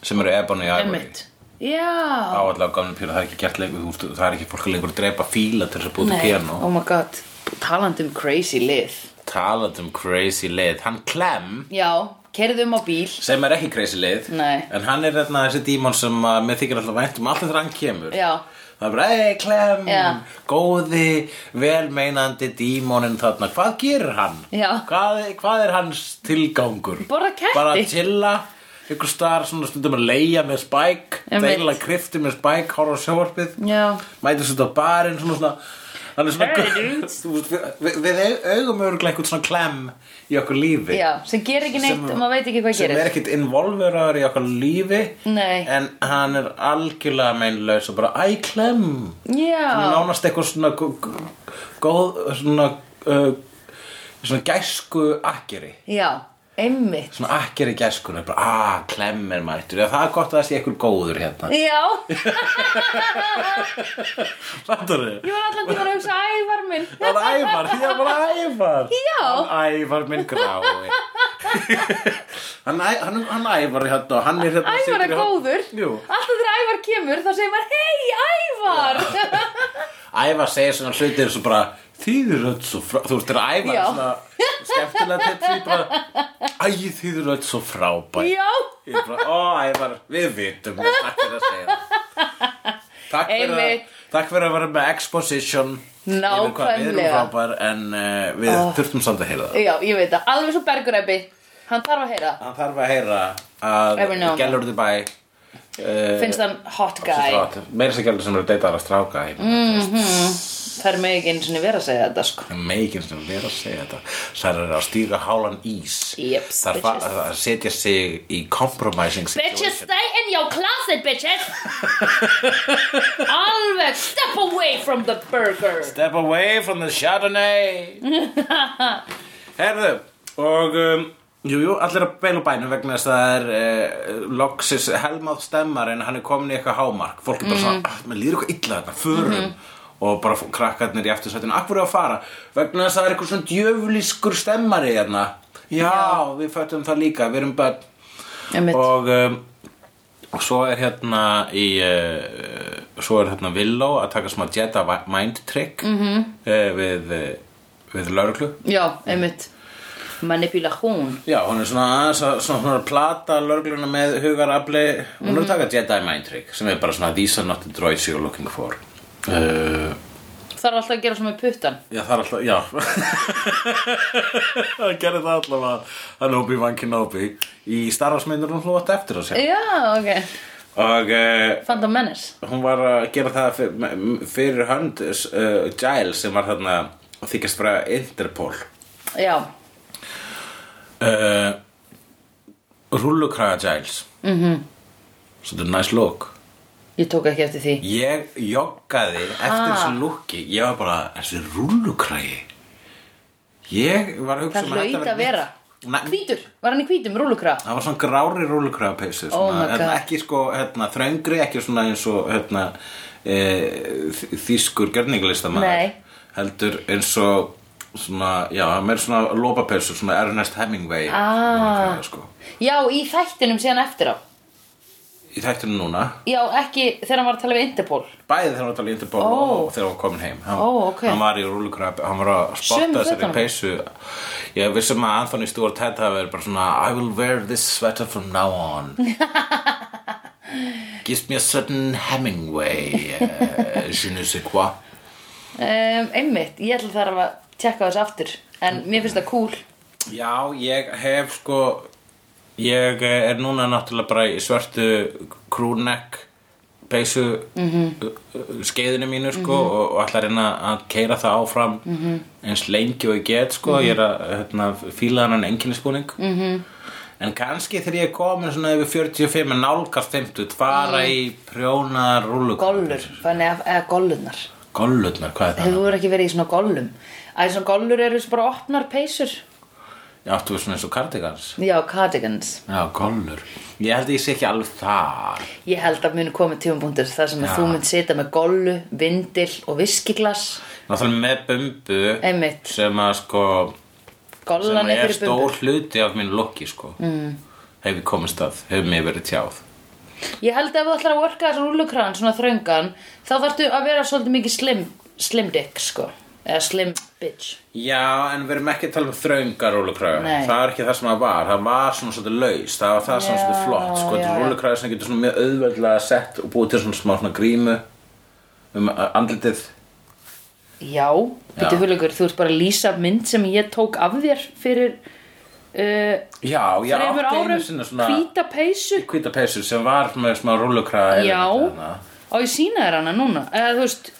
sem eru ebony og ivory
Einmitt. já,
á allavega gamlega píla, það er ekki gert lengur þú, veist, það er ekki fólk lengur að drepa fíla til þess að búið til
Nei,
piano
oh my god Talandi um crazy lið
talað um crazy leið, hann Clem
Já, kerðum á bíl
sem er ekki crazy leið
Nei.
en hann er þarna þessi dímon sem að mér þykir alltaf vænt um alltaf þegar hann kemur
Já.
það er bara, ei Clem
Já.
góði, velmeinandi dímonin þarna, hvað gerir hann?
Já.
Hvað, hvað er hans tilgangur?
Borða ketti.
bara að chilla ykkur starf svona stundum að leia með spæk
Einmitt.
deila krifti með spæk, horfa á sjóvarpið
Já.
mætist út á barinn svona svona hann er svona
Hey, dudes.
Þú veist, við, við augum örgulega eitthvað svona klem í okkur lífi
Já, sem gerir ekki neitt
Sem-
og maður veit ekki hvað
sem
gerir
er ekkert involveraður í okkur lífi
Nei.
en hann er algjörlega meinlaus og bara æ klem Hann er
Já,
nánast eitthvað svona gó- gó- góð svona, uh, svona gæsku akkeri
já, einmitt
svona akkeri gæskunar bara að klem er mættur já, það er gott að það sé eitthvað góður hérna
Já,
Fattarðu?
ég var allan tímann að hugsa ævar minn
Það var ævar, því það var ævar
Já.
Hann ævar minn grái hann, æ- hann, hann ævar hérna og hann er hérna
Ævar
situr
er
í horn-
góður
Jú.
Alltaf þegar ævar kemur þá segir maður Hei, ævar
Ævar segir svona hlutir eins og bara Þýður öll svo frá Þú veist, þegar ævar
Já.
er svona skemmtilega til því bara Æ, þýður öll svo frábær
Já,
Ég er bara, ó ævar, við vitum það. Takk fyrir að segja það. Takk fyrir,
Einmitt.
að, takk fyrir að vera með exposition yfir hvað Við erum
Nákvæmlega.
frábær en uh, við þurftum samt að heyra það
já, ég veit það Alveg svo berguræpi Hann þarf að heyra
Hann þarf að heyra að
Every now and then.
Gellurði bæ uh,
Finnst hann hot guy
Meira sem gælur sem eru að deyta aðra stráka mm.
Það er mig ekki einu sinni vera að segja þetta sko
Meikinn sem vera að segja þetta Það er að stíga hálan ís
Jeps,
Það er
bitches.
að setja sig í compromising
Bitches,
situation
stay in your closet, bitches Alveg, step away from the burger
Step away from the Chardonnay Herðu Og um, Jú, jú, allir að beila úr bænum vegna þess að það er eh, loksis helmað stemmar en hann er komin í eitthvað hámark fólk er bara svona, ah, maður líður eitthvað illa þetta, förum og bara fó- krakkarnir í aftursættinu akkur er að fara, vegna þess að það er eitthvað svona djöflískur stemmari hérna já, við föttum það líka, við erum bara og, um, og svo er hérna í uh, svo er hérna Villó að taka smá Jedi mind trick mm -hmm. uh, við, uh, við lörglu
Já, einmitt Manipulation
Já, hún er svona aðeins að svona, svona að plata lörgluna með hugarafli hún er að taka Jedi Mind Trick sem er bara svona these are not the droids you're looking for uh,
Það er alltaf að gera svo með puttan
Já, það er alltaf, já Það gerði það allavega hann Obi-Wan Kenobi í Star Wars myndir hún hlótt eftir að segja
Já, ok
og uh,
Phantom Menace
hún var að gera það fyrir, fyrir hönd uh, Giles sem var þarna að þykast bara Interpol
Já,
uh, Rúllukraga Giles mm
Mhm.
-hmm. Svo þetta er næs lók
ég tók ekki eftir því
Ég joggaði eftir þessu
Ah.
lúki Ég var bara, þessi rúllukrægi Ég var að hugsa
Það
um þetta
hlaut að
væri-
vera
Nei,
Hvítur, var hann í hvítum rúlukra?
Það var svona grári rúllukræðapeysu
Oh my
en
God.
ekki sko hérna, þröngri, ekki svona eins og hérna, e, þýskur gerninglistamaður
Nei.
heldur eins og svona, já, meir svona lópapeysu svona Ernest Hemingway
Ah.
rúllukræði, sko.
Já, í þættinum síðan eftir á
í þættinu núna
Já, ekki þegar hann var að tala við Interpol
Bæði þegar hann var að tala í Interpol
Ó.
og þegar hann var komin heim hann,
Ó, ok.
hann var í rúlugröp, hann var að spotta
Sömu
þessari
fötunum?
peysu Ég vissum að Anthony Stewart Head hafi verið bara svona I will wear this sweater from now on Gives me a certain Hemingway uh, Je ne sais quoi
um, Einmitt, ég ætla þarf að tjekka þessu aftur En mér finnst það cool
Já, ég hef sko Ég eh, er núna náttúrulega bara í svörtu krúnekk peysu mm skeiðinu mínu sko og, og ætla að reyna að keira það áfram eins lengi og ég get sko ég er að hérna, fíla hann enginnispúning mm -hmm. en kannski þegar ég er komin svona yfir 45 en nálgast 50 fara í prjóna rúlu
Gollur, þannig að, eða gollunar
Gollurnar, hvað er það?
Hefur þú ekki verið í svona gollum? Æ, svona gollur eru bara opnar peysur
Já, áttu við svona eins og kardigans
Já, cardigans
Já, gollur Ég held að ég sé ekki alveg þar
Ég held að muni komið tífumbúndur þar sem að þú munt sita með gollu, vindil og viskiglas
Náttúrulega með bumbu
Einmitt.
sem að sko sem
Gollan
er
ykkur í bumbu
stór hluti af mínu lokki sko mm. hef ég komist að, hef mér verið tjáð
Ég held að ef þú ætlar að orka þessan rúlukran, svona þröngan þá þarftu að vera svolítið mikið slim, slim dick, sko eða slim bitch
Já, en við erum ekki að tala um þrönga rúlukröðu
Nei.
það er ekki það sem það var, það var svona svolítið laus það var það sem
Já,
var svolítið flott sko, þetta
já,
er
já.
rúlukröðu sem getur svona mjög auðveldlega sett og búið til svona smá svona grímu um uh, andlitið
Já, býttu hulikur, þú ert bara að lýsa mynd sem ég tók af þér fyrir uh,
Já, ég
þreymur
átti einu
árum
sinni svona
hvíta peysu
hvíta peysur sem var með smá hérna. rúlukröðu
Já, og ég sína þér hana núna eða þú veist,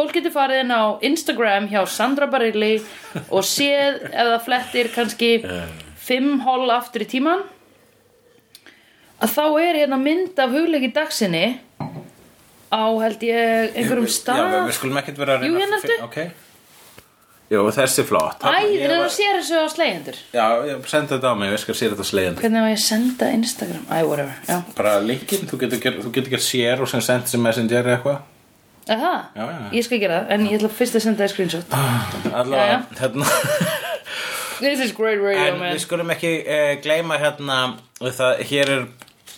fólk getur farið inn á Instagram hjá Sandra Barilli og séð eða flettir kannski fimm hol aftur í tíman að þá er hérna mynd af hugleiki dagsinni á held ég einhverjum
Já,
stað
við, við skulum ekkert vera að
Jú,
reyna
hérna ertu.
Ok Jú, þessi er flott
Æ,
Þarna- ég
þegar þú
var-
sér þessu á slegjendur
Já, ég sendi þetta á mig, ég skal sér þetta slegin
Hvernig var ég að senda Instagram? Æ, whatever, já
Bara linkin, þú getur gert- þú getur gert sér og sem sendi sem messenger eða eitthvað
Er það?
Já, já, Ah. já.
Ég skal gera það, en ég ætla fyrst að senda þér screenshot
Allavega,
Jæja.
hérna
This is great radio,
En
man
við skulum ekki uh, gleyma hérna það, Hér er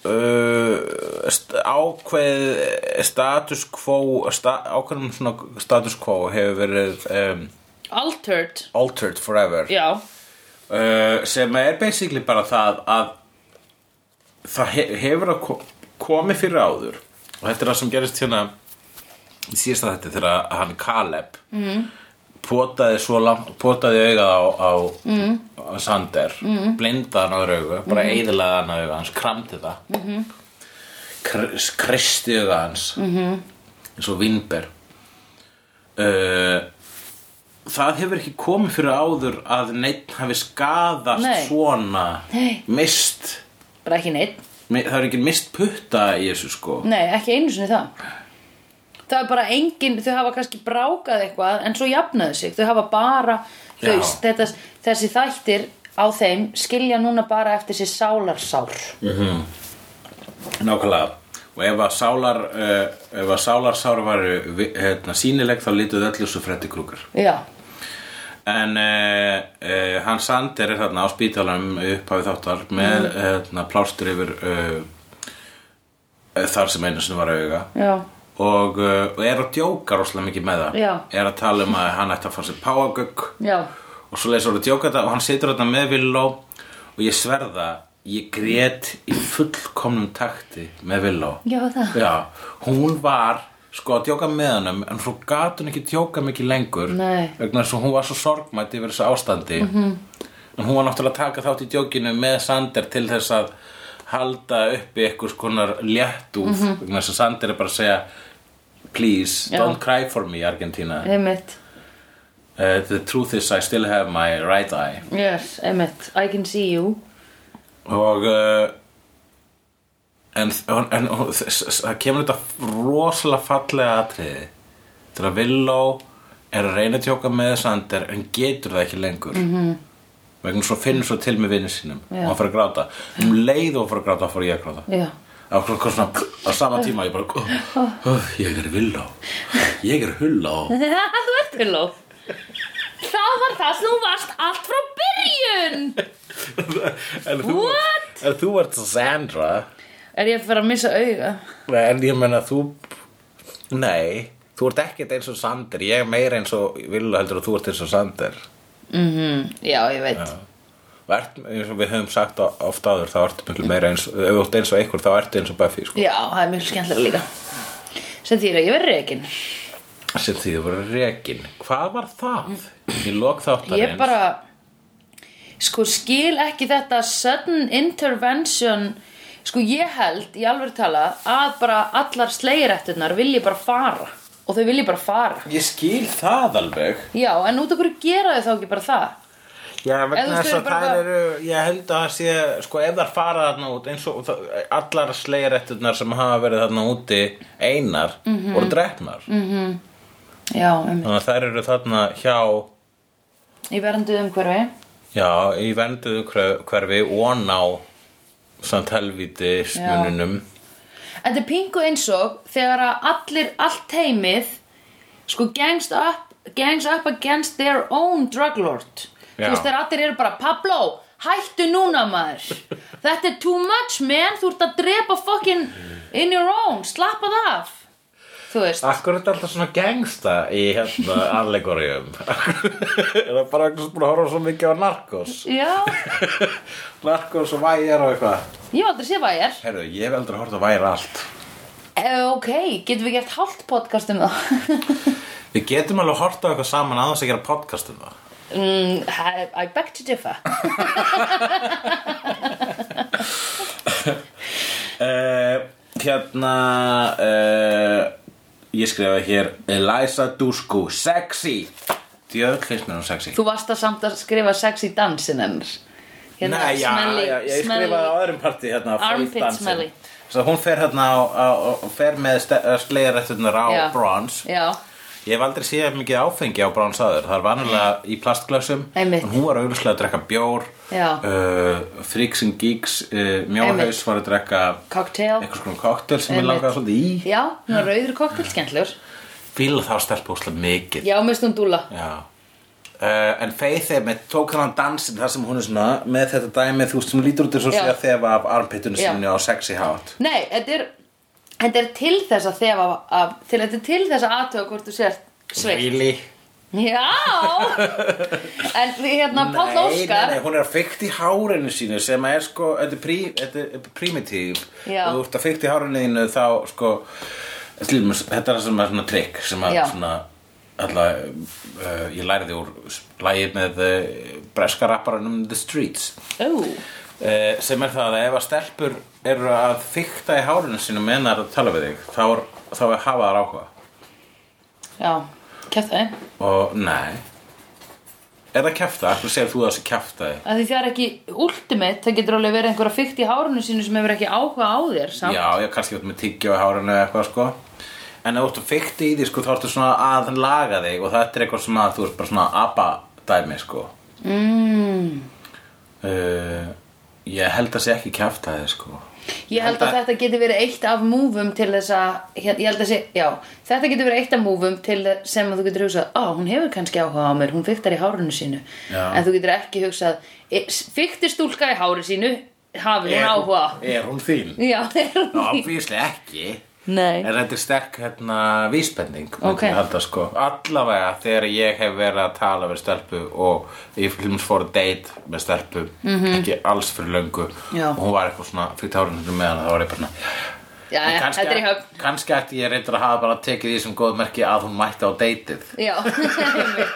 uh, st ákveð eh, status quo sta ákveðum svona status quo hefur verið um,
Altered,
altered forever
já
uh, sem er basically bara það að það he hefur að ko komið fyrir áður og þetta er það sem gerist hérna í síðasta þetta þegar hann Caleb mm. potaði, svo langt, potaði augað á, á, mm. á Sander mm. blindaði hann áður augu bara mm. eðilaði hann augu hans, kramdi það mm -hmm. kristi auga hans mm -hmm. eins og vinnber uh, það hefur ekki komið fyrir áður að neitt hafi skadast
Nei.
svona
Nei.
mist
Bara ekki neitt
mi- það er ekki mist putta í þessu sko
Nei, ekki einu sinni það Það er bara engin, þau hafa kannski brákað eitthvað en svo jafnaðu sig, þau hafa bara þau,
Já.
þetta, þessi þættir á þeim skilja núna bara eftir sér sálarsár
nákvæmlega og ef að sálar uh, ef að sálarsár var hérna, sínileg þá lítuð öll þessu Freddy Krueger
Já,
en uh, uh, hann Sander er þarna á spítalanum upphafið þáttar með hérna, plástur yfir uh, þar sem einu sinni var auga
já,
og, uh, og er að djóka rosalega mikið með það
Já.
er að tala um að hann ætti að fá sér páagögg
já
og svo leiðis voru að djóka þetta og hann situr þetta með Villó og ég sverða ég grét í fullkomnum takti með Villó
Já, það.
Já, hún var sko að djóka með hannum en svo gat hún ekki djóka mikið lengur
Nei. Mhm.
vegna þess að hún var svo sorgmætt yfir þessu ástandi -hmm. en hún var náttúrulega að taka þátt í djókinu með Sander til þess að halda uppi einhvers konar léttúð vegna þess að Sander er bara að segja please,
Mhm. Já.
don't cry for me Argentina
Einmitt.
uh, the truth is I still have my right eye
Yes, einmitt. I can see you.
og uh, en, en, en og þess- þess- það kemur þetta rosalega fallega atriði til að Villó er að reyna að tjóka með Sander en getur það ekki lengur mm -hmm. vegna svo finnur svo til með vinnu sínum
Mhm. Já.
og hann fyrir að gráta um leið og hann fyrir að gráta fyrir ég að gráta
Já.
á, hvað- hvað svona, á sama tíma ég bara oh, oh, ég er Villó ég er Hulló
Þú ert pilló. Það var það sem þú varst allt frá byrjun.
en þú,
What?
en þú ert Sandra
Er ég að fara að missa auga?
Nei, en ég menna þú Nei, þú ert ekkert eins og Sander Ég er meira eins og Villu heldur og þú ert eins og Sander
Já, ég veit.
Og ert, eins og við höfum sagt o- oft áður þá ertu miklu meira eins ef þú ert eins og einhver þá ertu eins og Buffy sko.
Já, það er mjög skemmtilega líka. Sem því að ég verið reygin.
sem því þú voru rekin Hvað var það? Í lok þáttarins
Ég bara, sko, skil ekki þetta sudden intervention. Sko, ég held, í alveg tala, að bara allar slegjirættunar vilji bara fara. Og þau vilji bara fara.
Ég skil það alveg
Já, en út af hverju gera þau þá ekki bara það?
Já,
Ef þú
vegna þess
spyrir
að
bara-
það eru, ég held að það sé, sko, ef þar fara þarna út, eins og það, allar slegjarætturnar sem hafa verið þarna úti einar mm
Mhm.
-hmm. voru drefnar.
Já, um,
Þannig að þær eru þarna hjá
í vernduð umhverfi
Já, í venduðu hver- hverfi og ná samt helvíti smununum
Þetta er pingu eins og þegar að allir, allt heimið sko gangs up, gangs up against their own drug lord Þú
Já.
veist þegar allir eru bara Pablo, hættu núna maður Þetta er too much man, þú ert að drepa fucking in your own, slappa það af Þú veist,
Akkur er þetta alltaf svona gangsta í hérna allegoríum Er það bara eitthvað sem búin að horfa svo mikið á narkos
já,
Narkos og væjar og eitthvað
ég var aldrei sé hvað ég er
Herru, ég hef aldrei horfði að væra allt
Eh, Ok, getum við gert hálft podcast um það?
Við getum alveg að horta eitthvað saman aðeins að gera podcast um það
Mm, I, I beg to differ
uh, Hérna uh, Ég skrifaði hér Eliza Dusko, sexy Djöðl finnst mér hún sexy
Þú varst að samt að skrifa sex í dansin hennar
Nei, já, já, já, ég skrifaði á öðrum partí hérna
Hérna, Armpit
feitdansinn.
smelly.
Svo hún fer hérna á, á, á fer með slegjarættunar á
Já.
brons
Já,
Ég hef aldrei séð jafn mikið áfengi á brons aður Það er vanalega í plastglössum
Einmitt.
En hún var auðvitað að drekka bjór
Já.
uh, Freaks and Geeks uh, Mjóhaus
Einmitt.
var að drekka
cocktail
einhvers konar koktel sem ég
Einmitt.
langaði svolítið í
Já, hún var rauður cocktail skemmtlur
Fíla þá stelpa úslega mikið
Já, mest hún dúla
Já Uh, en Faith er með tók hann dansin þar sem hún er svona með þetta dæmi þú veist sem lítur út eins og
Já.
sé að þefa af armpittunum
Já.
sinni á sexy hát
Nei, þetta er, þetta er til þess að þefa af, til, Þetta er til þess að aðtöga hvort þú sért sveitt
really?
Já En við hérna Páll
nei, nei,
Óskar
nei, hún er að fykta í hárinu sínu sem er sko, þetta er, prí, þetta er primitív
Já.
og þú ert að fykta í hárinu þínu þá sko slífum, þetta er svona, svona trikk sem að
Já.
svona alla, uh, ég læriði úr lægi með uh, breska rapparanum The Streets
Ó,
Eh, sem er það að ef að stelpur eru að þykta í hárinu sínu menar að tala við þig þá, er, þá er hafa þar áhuga
já, kjöfðu að
og nei er það kjafta? Akkur segir þú það sem kjafta
Því það er ekki ultimate, það getur alveg verið einhverja fykt í hárunu sínu sem hefur ekki áhuga á þér samt.
já, ég kannski út með tyggja á hárinu eða eitthvað sko en ef þú ert að þykta í því sko þá ertu svona að laga þig og þetta er eitthvað sem að þú ert bara svona apa dæmi sko mm. ég held að sé ekki kjafta þig sko
Ég held að þetta geti verið eitt af múfum til þess að, hér- ég held að sé, já, þetta getur verið eitt af múfum til sem að þú getur hugsað, á, hún hefur kannski áhuga á mér, hún fyktar í hárinu sínu,
Já.
en þú getur ekki hugsað, e, fyktir stúlka í hárinu sínu, hafi hún
Er-
áhuga.
er hún þín?
Já, er hún
Ná,
í-
obvíslega ekki
Nei.
en þetta er sterk hérna vísbending myndi
Ok.
ég halda, sko. allavega þegar ég hef verið að tala við stelpu og ég films fór að date með stelpu ekki alls fyrir löngu
Mhm. Já.
og hún var eitthvað svona fyrir tárinu með hana þá var ég bara svona
Já,
En
já, þetta er í höfn.
kannski ætti ég reyndar að hafa bara tekið því sem góð merki að hún mætti á deitið
Já, einmitt.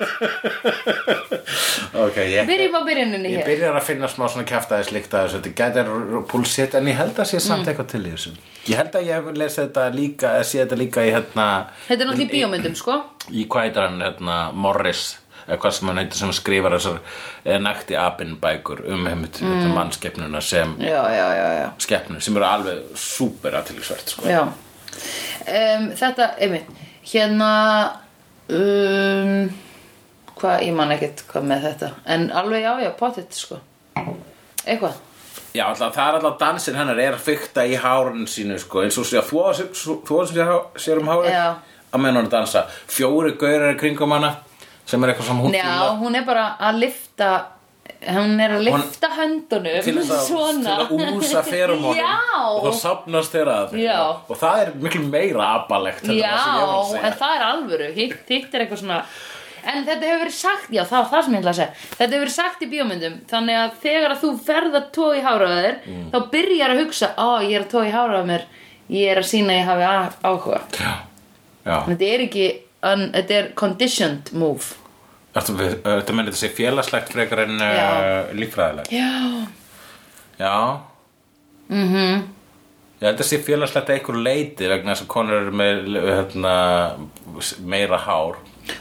ok, ég,
byrjum á byrjuninni
ég
hér.
byrjar að finna smá svona kjaftaði slíkt að þessu þetta gæti að púlsitt en ég held að sé samt
Mm.
eitthvað til í þessu ég held að ég hef lesið þetta líka eða sé þetta líka í hérna
Þetta er náttúrulega í bíómyndum, sko.
í hvað heitir hann hérna, Morris eða hvað sem hann heitir sem skrifar þessar eða nætti abinn bækur um heimitt mm. mannskeppnuna sem
Já, já, já, já.
skeppnur sem eru alveg súper aðtilsvert sko.
Já um, Þetta, einmitt Hérna um, Hvað, ég man ekkert hvað með þetta En alveg já, já, potið sko Eitthvað
Já, alltaf, það er alltaf dansinn hennar er að fykta í hárun sínu sko, eins og sé að þvóa sér- þvóa sér, sér um hárun
Já.
að meðan hún er að dansa fjóri gaurar er kringum hana sem er eitthvað sem hún
Já, hún er bara að lifta Hún er að lifta höndunum
til þess að, til
Svona
að úsa ferumónum og þá
Já,
sapnast þeirra að þeim
Já.
og það er miklu meira abalegt heldur en það sem ég var að
já
segja.
en það er alvöru Hitt, hitt er eitthvað svona En þetta hefur verið sagt, já það var það sem ég ætla að segja Þetta hefur verið sagt í bíómyndum Þannig að þegar að þú ferð að tóa í háraðir mm. Þá byrjar að hugsa, á ég er að tóa í háraðir mér Ég er að sína að ég hafi a- áhuga
Já,
Þetta er ekki, un, þetta er conditioned move
Ertu- við- þetta mennir þetta sé félagslegt frekar en uh,
Já.
líffræðilegt
Já
Já Mhm
Mhm.
Ég held að sé félagslegt að einhver leiti vegna þess að konur eru með hérna, meira hár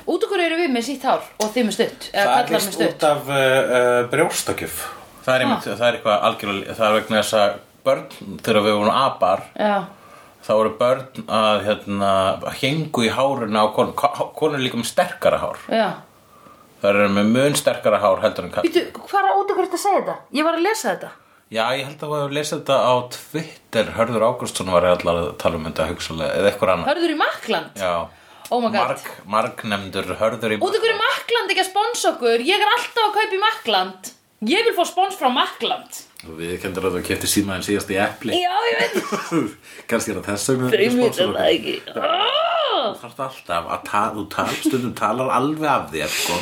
Út okkur eru við með sítt hár og þið með stutt Eða
Það er
kallar með
list út
stutt Ah.
af uh, uh, brjóstakjöf
Það er, einmitt, það er eitthvað algjörlega það er vegna þess að börn þegar við vorum apar
Já,
þá voru börn að hérna, hengu í háruna á konur Ko- konur eru líka með sterkara hár
já
það eru með mun sterkara hár heldur en kall
Býtu, hvað er út okkur þetta að segja þetta? Ég var að lesa þetta
Já, ég held að þú hefur lesið þetta á Twitter Hörður Ágústsson var allar að tala um þetta hugsalega eða eitthvað annað
Hörður í Makland
Já,
Oh my god
marg, margnefndur Hörður í
Út ykkur er Makland ekki að sponsa okkur Ég er alltaf að kaupa í Makland Ég vil fá spons frá Makland
Við kendur að þú kefti síma en síðast í epli
Já, ég veit
Kannski er það þess vegna
Ég
ekki
veit það
sponsor okkar.
ekki Ah!
Þú þarft alltaf að tala, þú tala, stundum talar alveg af þér sko.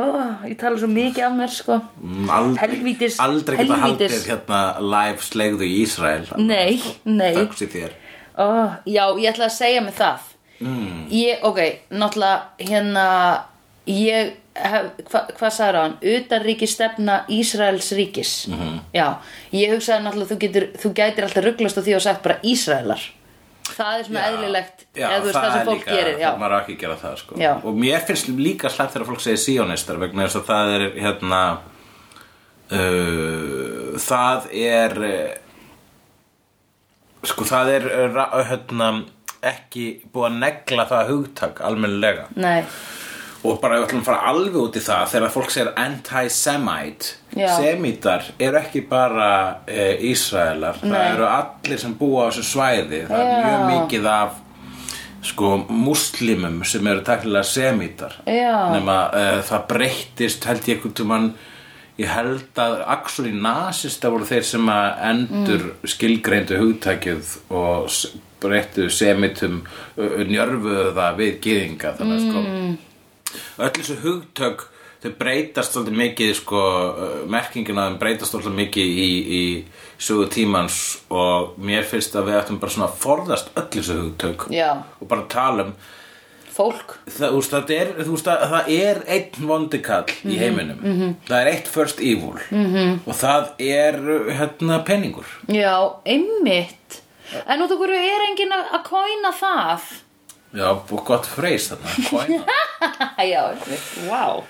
Ah, Ég tala svo mikið af mér sko
Mm, aldrei,
Helvítis-
Aldrei geta
helvítis.
haldið hérna live slegðu í Ísrael
Nei, nei
Takk sér þér
oh, Já, ég ætla að segja mig það
Hmm.
mm. Ég, ok, náttúrulega hérna Ég, hef, hva, hvað sagði hann? Utanríkistefna Ísraels ríkis -hmm.
Mhm.
Já, ég hugsaði náttúrulega þú, getur, þú gætir alltaf rugglast á því og sagt bara Ísraelar Það er svona eðlilegt
Já,
eða þú veist það
er
sem fólk
líka,
gerir já.
maður á ekki að gera það sko.
Já.
og mér finnst líka slæmt þegar fólk segir síonistar vegna þess að það er hérna uh, það er eh, sko það er eh, ra- hérna, ekki búið að negla það hugtak almennilega
Nei,
og bara við ætlum að fara alveg út í það þegar fólk segir anti-semite
Já.
semítar eru ekki bara e, Ísraelar það
Nei.
eru allir sem búa á þessu svæði það
Já.
er mjög mikið af sko muslimum sem eru takkilega semítar
Já.
nema e, það breyttist held ég einhvern tímann ég held að actually nasista voru þeir sem að endur
Mm.
skilgreindu hugtækið og s- breyttu semitum njörfuðu það við gyðinga þannig að
Mm.
sko öll þessu hugtök þau breytast svolítið mikið sko, uh, merkingin að þeim breytast svolítið mikið í, í sögu tímans og mér finnst að við ættum bara svona að forðast öll þessu hugtök
Já.
og bara tala um
fólk
það, úst, það, er, þú veist, það, það er einn vondikall í heiminum það er eitt first evil -hmm. og það er uh, hérna, peningur
Já, einmitt En út okkur er enginn að að kóina það
Já, og gott freys þarna kóina.
Já, einmitt, wow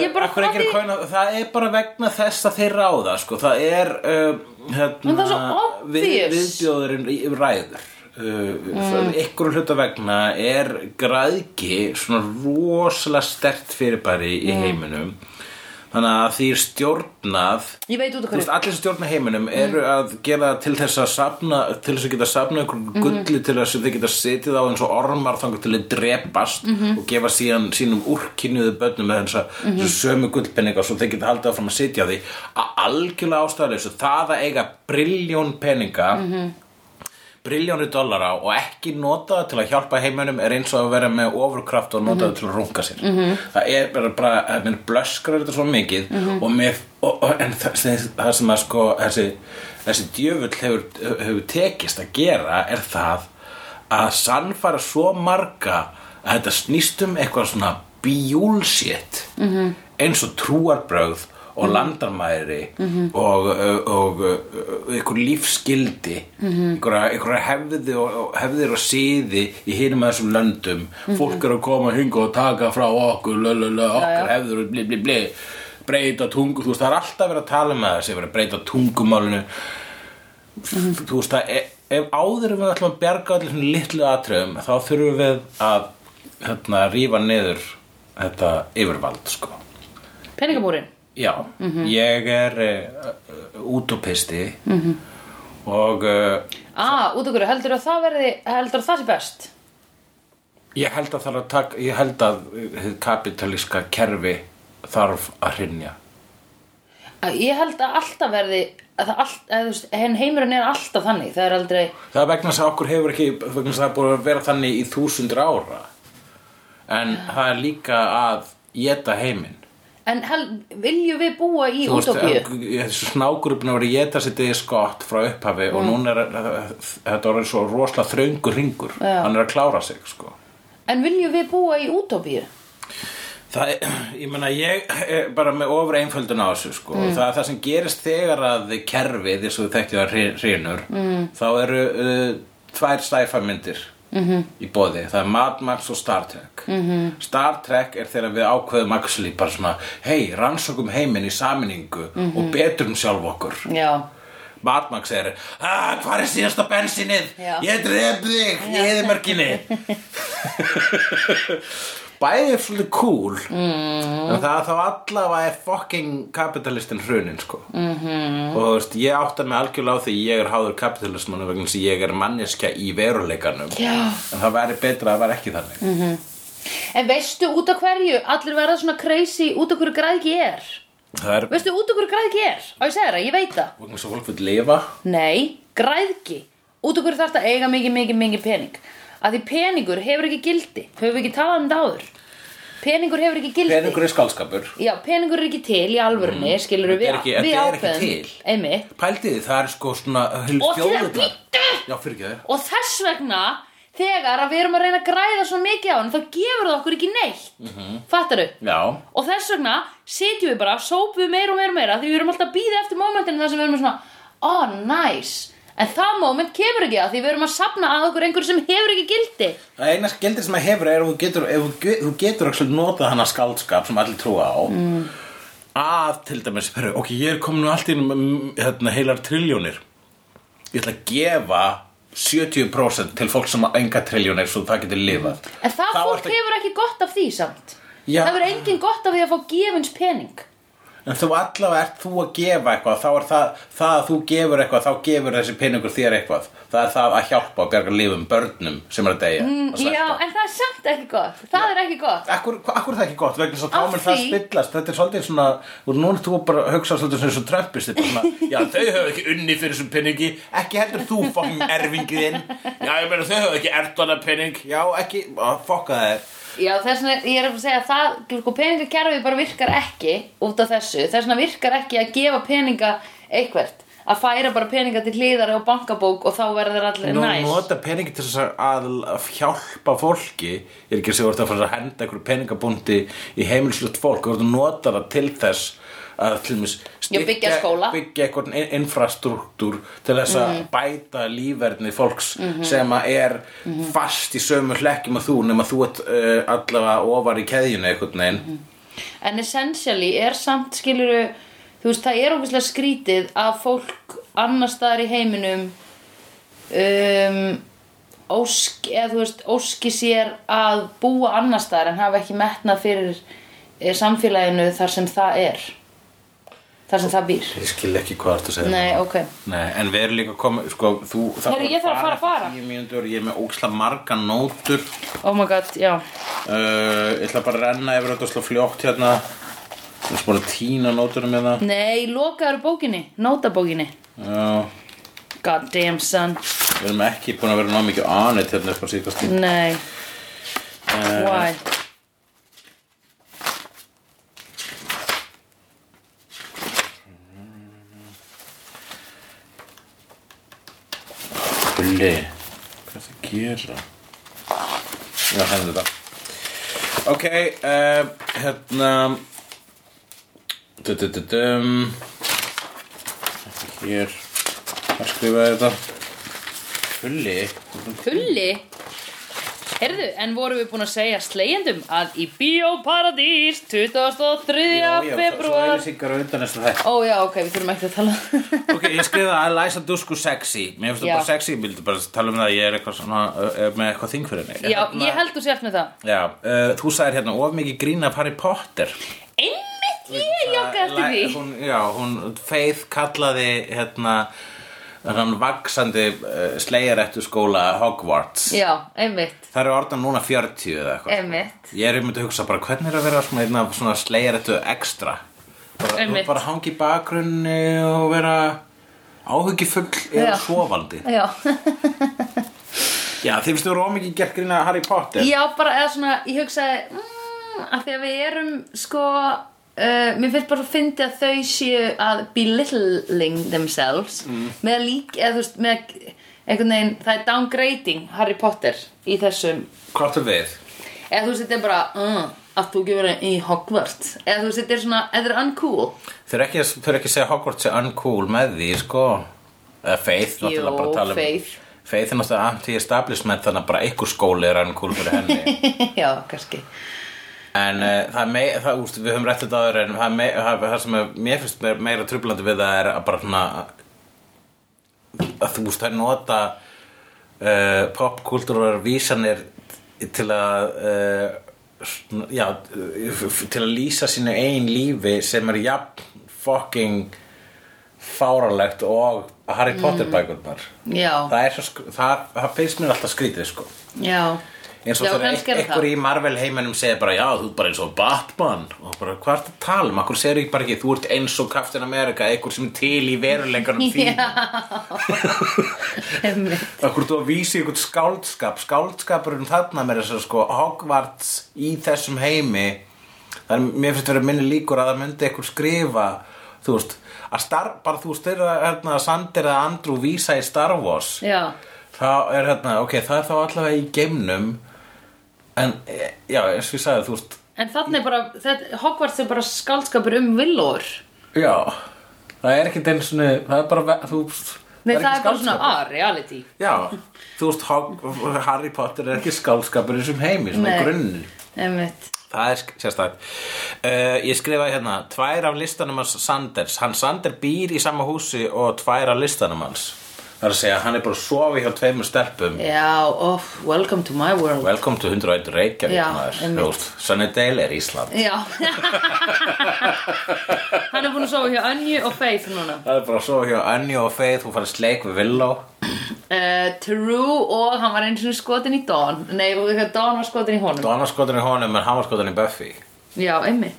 Ég bara,
Eh, Af hverju
hvað
ekki að
þið-
kóina? það er bara vegna þess að þeir ráða sko. það er um,
En það
hérna,
er svo obvious. Mm.
viðbjóðurinn í- ræður uh, ykkur hluta vegna er græðgi svona rosalega stert fyrirbæri
Mm.
í heiminum þannig að því er stjórnað
Ég veit út
Þú
okkur
veist, allir sem stjórna heiminum eru að gera það til þess að safna, til þess að geta safna einhver gulli til þess að þeir geta setið á eins og ormar þangur til þeir drepast og gefa síðan sínum úrkynjuðu börnum með þess að sömu gullpenninga svo þeir geta haldið áfram að sitja á því að algjörlega ástæðlega það að eiga briljón peninga briljónu dollara og ekki nota það til að hjálpa heimunum er eins og að vera með overkraft og nota það til að runga sér það er bara, bara mér blöskrar þetta svo mikið og mér og, og, en það, sem- það sem að sko þessi, þessi djöfull hefur, hefur tekist að gera er það að sannfara svo marga að þetta snýst um eitthvað svona bjúlsétt -hmm. eins og trúarbrögð og landarmæri og, og, og, og ykkur lífskildi mm ykkur hefði og, og, hefðir og siði í hinum að þessum löndum fólk eru að koma hinga og taka frá okkur lölulö, okkar hefðir og bli bli bli breyta tungu, þú veist það er alltaf verið að tala um að þessi verið að breyta tungumálinu þú veist að e- ef áður en við ætlum að bjarga allir svona litlu atriðum þá þurfum við að hérna, rífa niður þetta yfirvald sko
Peningamúrin
já, ég er uh, útopisti -hmm. og uh,
Ah, út okkur, heldur að það verði, heldur að það sé best?
ég held að það er að taka ég held að hið kapitalíska kerfi þarf að hrinja
Að Ég held að alltaf verði, að það allt, að þú veist, henn heimurinn er alltaf þannig, það er aldrei,
Það er vegna þess að okkur hefur ekki vegna þess að það er búið að vera þannig í þúsundur ára en það er líka að geta heiminn
en hel, viljum við búa í
Þú eh, veist,
útopíu?
að- þessi snákur er búin að vera að geta sér degi skott frá upphafi og núna er eh, þetta orðið svo rosalega þröngur ringur
Já.
hann er að klára sig sko.
En viljum við búa í útopíu?
það, er- ég meina ég er bara með ofur einföldun á þessu sko. það er það sem gerist þegar að kerfið eins og þú þekktið að hrýnur mm. þá eru uh, tvær sci-fi-myndir -hmm. í bóði það er Mad Max og Star Trek -hmm. Star Trek er þegar við ákveðum axli bara svona, hei, rannsökum heiminn í saminningu og betrum sjálf okkur
Já,
Mad Max er ah, Hvar er síðasta bensinið?
Já.
Ég dref þig í eðimörkinni Bæði er svolítið cool mm. En það þá allavega er fucking kapitalistin hrunin sko mm
Mhm.
-hmm. Og þú veist, ég átta mig algjörlega á því Ég er háður kapitalismanum vegna þess að ég er manneskja í veruleikanum
Já.
En það væri betra að það væri ekki þannig mm.
en veistu út af hverju allir verða svona crazy út af hverju græðgi er?
Það er
Veistu út af hverju græðgi er? Á ég segja það, ég veit það.
vegna þess að fólk vil lifa
Nei, græðgi Út okkur þarf þetta að eiga mikið, mikið, mikið pening Að því peningur hefur ekki gildi Hefur við ekki talað um þetta áður Peningur hefur ekki gildi
Peningur er skálskapur
Já, peningur er ekki til í alvörunni mm. Skilur
Þetta
við,
er ekki-
við
þetta er ekki
ákveðum
til.
Einmitt
Pældi því, það er sko svona
Og þegar-
þjóðurnar- Já, fyrir ekki
Og þess vegna Þegar að við erum að reyna að græða svo mikið á hann Þá gefur það okkur ekki neitt mm
Mhm.
-hmm. Fattaru?
Já,
Og þess vegna setjum við bara, sópum við meira og meira og meira því við erum alltaf að býða eftir mómentinu þar sem við erum svona, oh nice, en það móment kemur ekki að því við erum að sapna að okkur einhverju sem hefur ekki gildi.
Það eina gildir sem að hefur er að þú getur, ef þú ge- þú getur ekki notað hana skaldskap sem allir trúa á að til dæmis heru, ok, ég er komin nú allt í einu með, mm, hérna, heilar triljónir ég ætla að gefa 70% til fólk sem að enga triljónir svo það getur lifað
En það
Þá
fólk
ertu-
hefur ekki gott af því samt.
Já.
Það hefur engin gott af því að fá gefins pening.
en þú allavega ert þú að gefa eitthvað þá er það, það að þú gefur eitthvað þá gefur þessi peningur þér eitthvað það er það að hjálpa og bjarga lifum börnum sem er að deyja að svelta.
Mm, Já, en það er samt ekki gott. Það er ekki gott.
Akkur, akkur er það ekki gott vegna þess að
Af
þá mun það
því-
spillast Þetta er svolítið svona, og núna ert þú bara að hugsa svolítið svona eins og trömpist Já, þau höfðu ekki unni fyrir þessum peningi Ekki heldur þú fokkin erfingið þinn Já, ég meina þau höfðu ekki ertona pening Já, ekki, á, fokka það er
Já, þess vegna ég er að segja að það, sko, peningakerfið bara virkar ekki út af þessu. Þess vegna virkar ekki að gefa peninga eitthvert. Að færa bara peninga til hliðar og bankabók og þá verður allir
Nú
næs.
nota peningi til þess að, að hjálpa fólki Ég er ekki að segja að þú ert að fara að henda einhverju peningabúndi í heimilslut fólk Þú ert að nota það til þess að til dæmis
Já, byggja
styrkja-
skóla. Mhm.
byggja einhvern in- infrastruktúr til þess að bæta lífverðni fólks sem að er
Mhm.
fast í sömu hlekkjum að þú nema þú ert uh, allavega ofar í keðjunni einhvern veginn
Mhm. En essentially er samt skiluru þú veist það er ógeðslega skrítið að fólk annar staðar í heiminum um, ósk, eða, þú veist, óski sér að búa annar staðar en hafa ekki metnað fyrir e, samfélaginu þar sem það er þar sem það býr
Ég skil ekki hvað þú ert að segja
Nei, ok
Nei, en við erum líka komið, sko, þú það
Heyrðu, ég þarf að fara að fara.
Tíu mínútur, ég er með óksla marga nótur
Oh my god, já
Uh, ég ætla bara að renna yfir þetta slá fljótt hérna Þú veist hérna. bara að tína nótunum með það
Nei, lokaður bókinni, nótabókinni
Já
God damn son
Við erum ekki búin að vera ná mikið on it hérna upp á síðkast
Nei Why?
Hulli Hvað er það að gera? Já, henni þetta Ok, uh, hérna Du-du-du-dum Hér Hvað skrifa ég þetta? Hulli
Hulli Herðu, en vorum við búin að segja slegjendum að í Bíóparadís 23. februar
lýsingar og undan næsta þætt
Ó já, ok, við þurfum ekki að tala
Ok, ég skrifa að Liza Dusku sexy Mér finnst það
Já.
bara sexy, ég vildi bara tala um það að Ég er eitthvað svona, uh, með eitthvað þing fyrir henni
Já, ég held þú sért með það
Já, uh, þú sagðir hérna of mikið grín af Harry Potter
Einmitt ég jogga eftir
Læ-
því
hún, já, hún, Faith kallaði hérna hann vaksandi uh, slegjarættu skóla Hogwarts
Já, einmitt,
það eru orðan núna 40 eða eitthvað
einmitt
ég er einmitt að hugsa bara hvernig er að vera svona, einn af svona slegjarættu ekstra bara,
Einmitt.
bara hangi í bakgrunni og vera áhyggjufull eða
Já.
svofandi
Já,
já, þið finnst þú rómikið gert grína Harry Potter
já bara eða svona, ég hugsaði mm, að því að við erum sko uh, mér finnst bara að fyndi að þau séu að belittling themselves með að lík, eða þú veist með að, einhvern veginn, það er downgrading Harry Potter í þessum
hvort er við
eða þú veist, þetta er bara uh, að þú ekki verið í Hogwarts eða þú veist, þetta er svona, eða þetta er uncool
þau eru ekki, þau eru ekki að segja Hogwarts er uncool með því sko eða Faith, náttúrulega bara að tala um
Faith.
Faith er náttúrulega anti-establishment þannig að bara einhver skóli er hann kúl fyrir henni
já, kannski
en uh, það, mei, það úst, við höfum réttið áður en það, mei, það, það sem er, mér finnst meira, meira trublandi við það er að bara svona að þú veist það nota uh, popkultúrar vísanir til að uh, svona- já, eh, til að lýsa sínu ein lífi sem er jafn fucking fáralegt og Harry Potter bækurnar
já,
það er svo, sk- það, það finnst mér alltaf skrítið sko
já
eins og
Já,
þegar
kannski er það.
einhver í Marvel heiminum segir bara já, þú ert bara eins og Batman og bara hvað ert að tala um, akkur segir ekki bara ekki þú ert eins og Captain America, einhver sem er til í veruleikanum þín
Einmitt.
akkur þú að vísi einhvern skáldskap skáldskapurinn þarna mér þess að sko Hogwarts í þessum heimi það er mér finnst verið minni líkur að það myndi einhver skrifa þú veist, að star, bara þú veist þeirra hérna, Sander eða Andrew vísa í Star Wars
Já,
þá er hérna, ok, það er þá allavega í geimnum en, e, já, eins og ég sagði, þú veist
en þannig bara, þetta, Hogwarts er bara skaldskapur um villor
já, það er ekkert einu svona það er bara, ve- þú veist
Nei, það
ekki
er bara svona,
skáldskapur.
ah, reality
já, þú veist, Hog- Harry Potter er ekki skálskapur eins og heimi, svona
Nei.
í grunn
Einmitt
Það er sk- sérstætt. Uh, ég skrifaði hérna, tvær af listanum hans Sanders. Hann Sander býr í sama húsi og tvær af listanum hans. Það er að segja, hann er bara að sofa hjá tveimur stelpum.
Já, oh, welcome to my world
Velkom til 101 Reykjavík
Já,
maður.
einmitt.
Þú veist, Sunnydale er Ísland.
Já Hann er búin að sofa hjá Önju og Faith núna
Það er bara að sofa hjá Önni og Faith, hún farið sleik við Villó.
uh, True og hann var einu sinni skotin í Dawn Nei, og þegar Dawn var skotin í honum
Donna skotin í honum en hann var skotin í Buffy.
Já, einmitt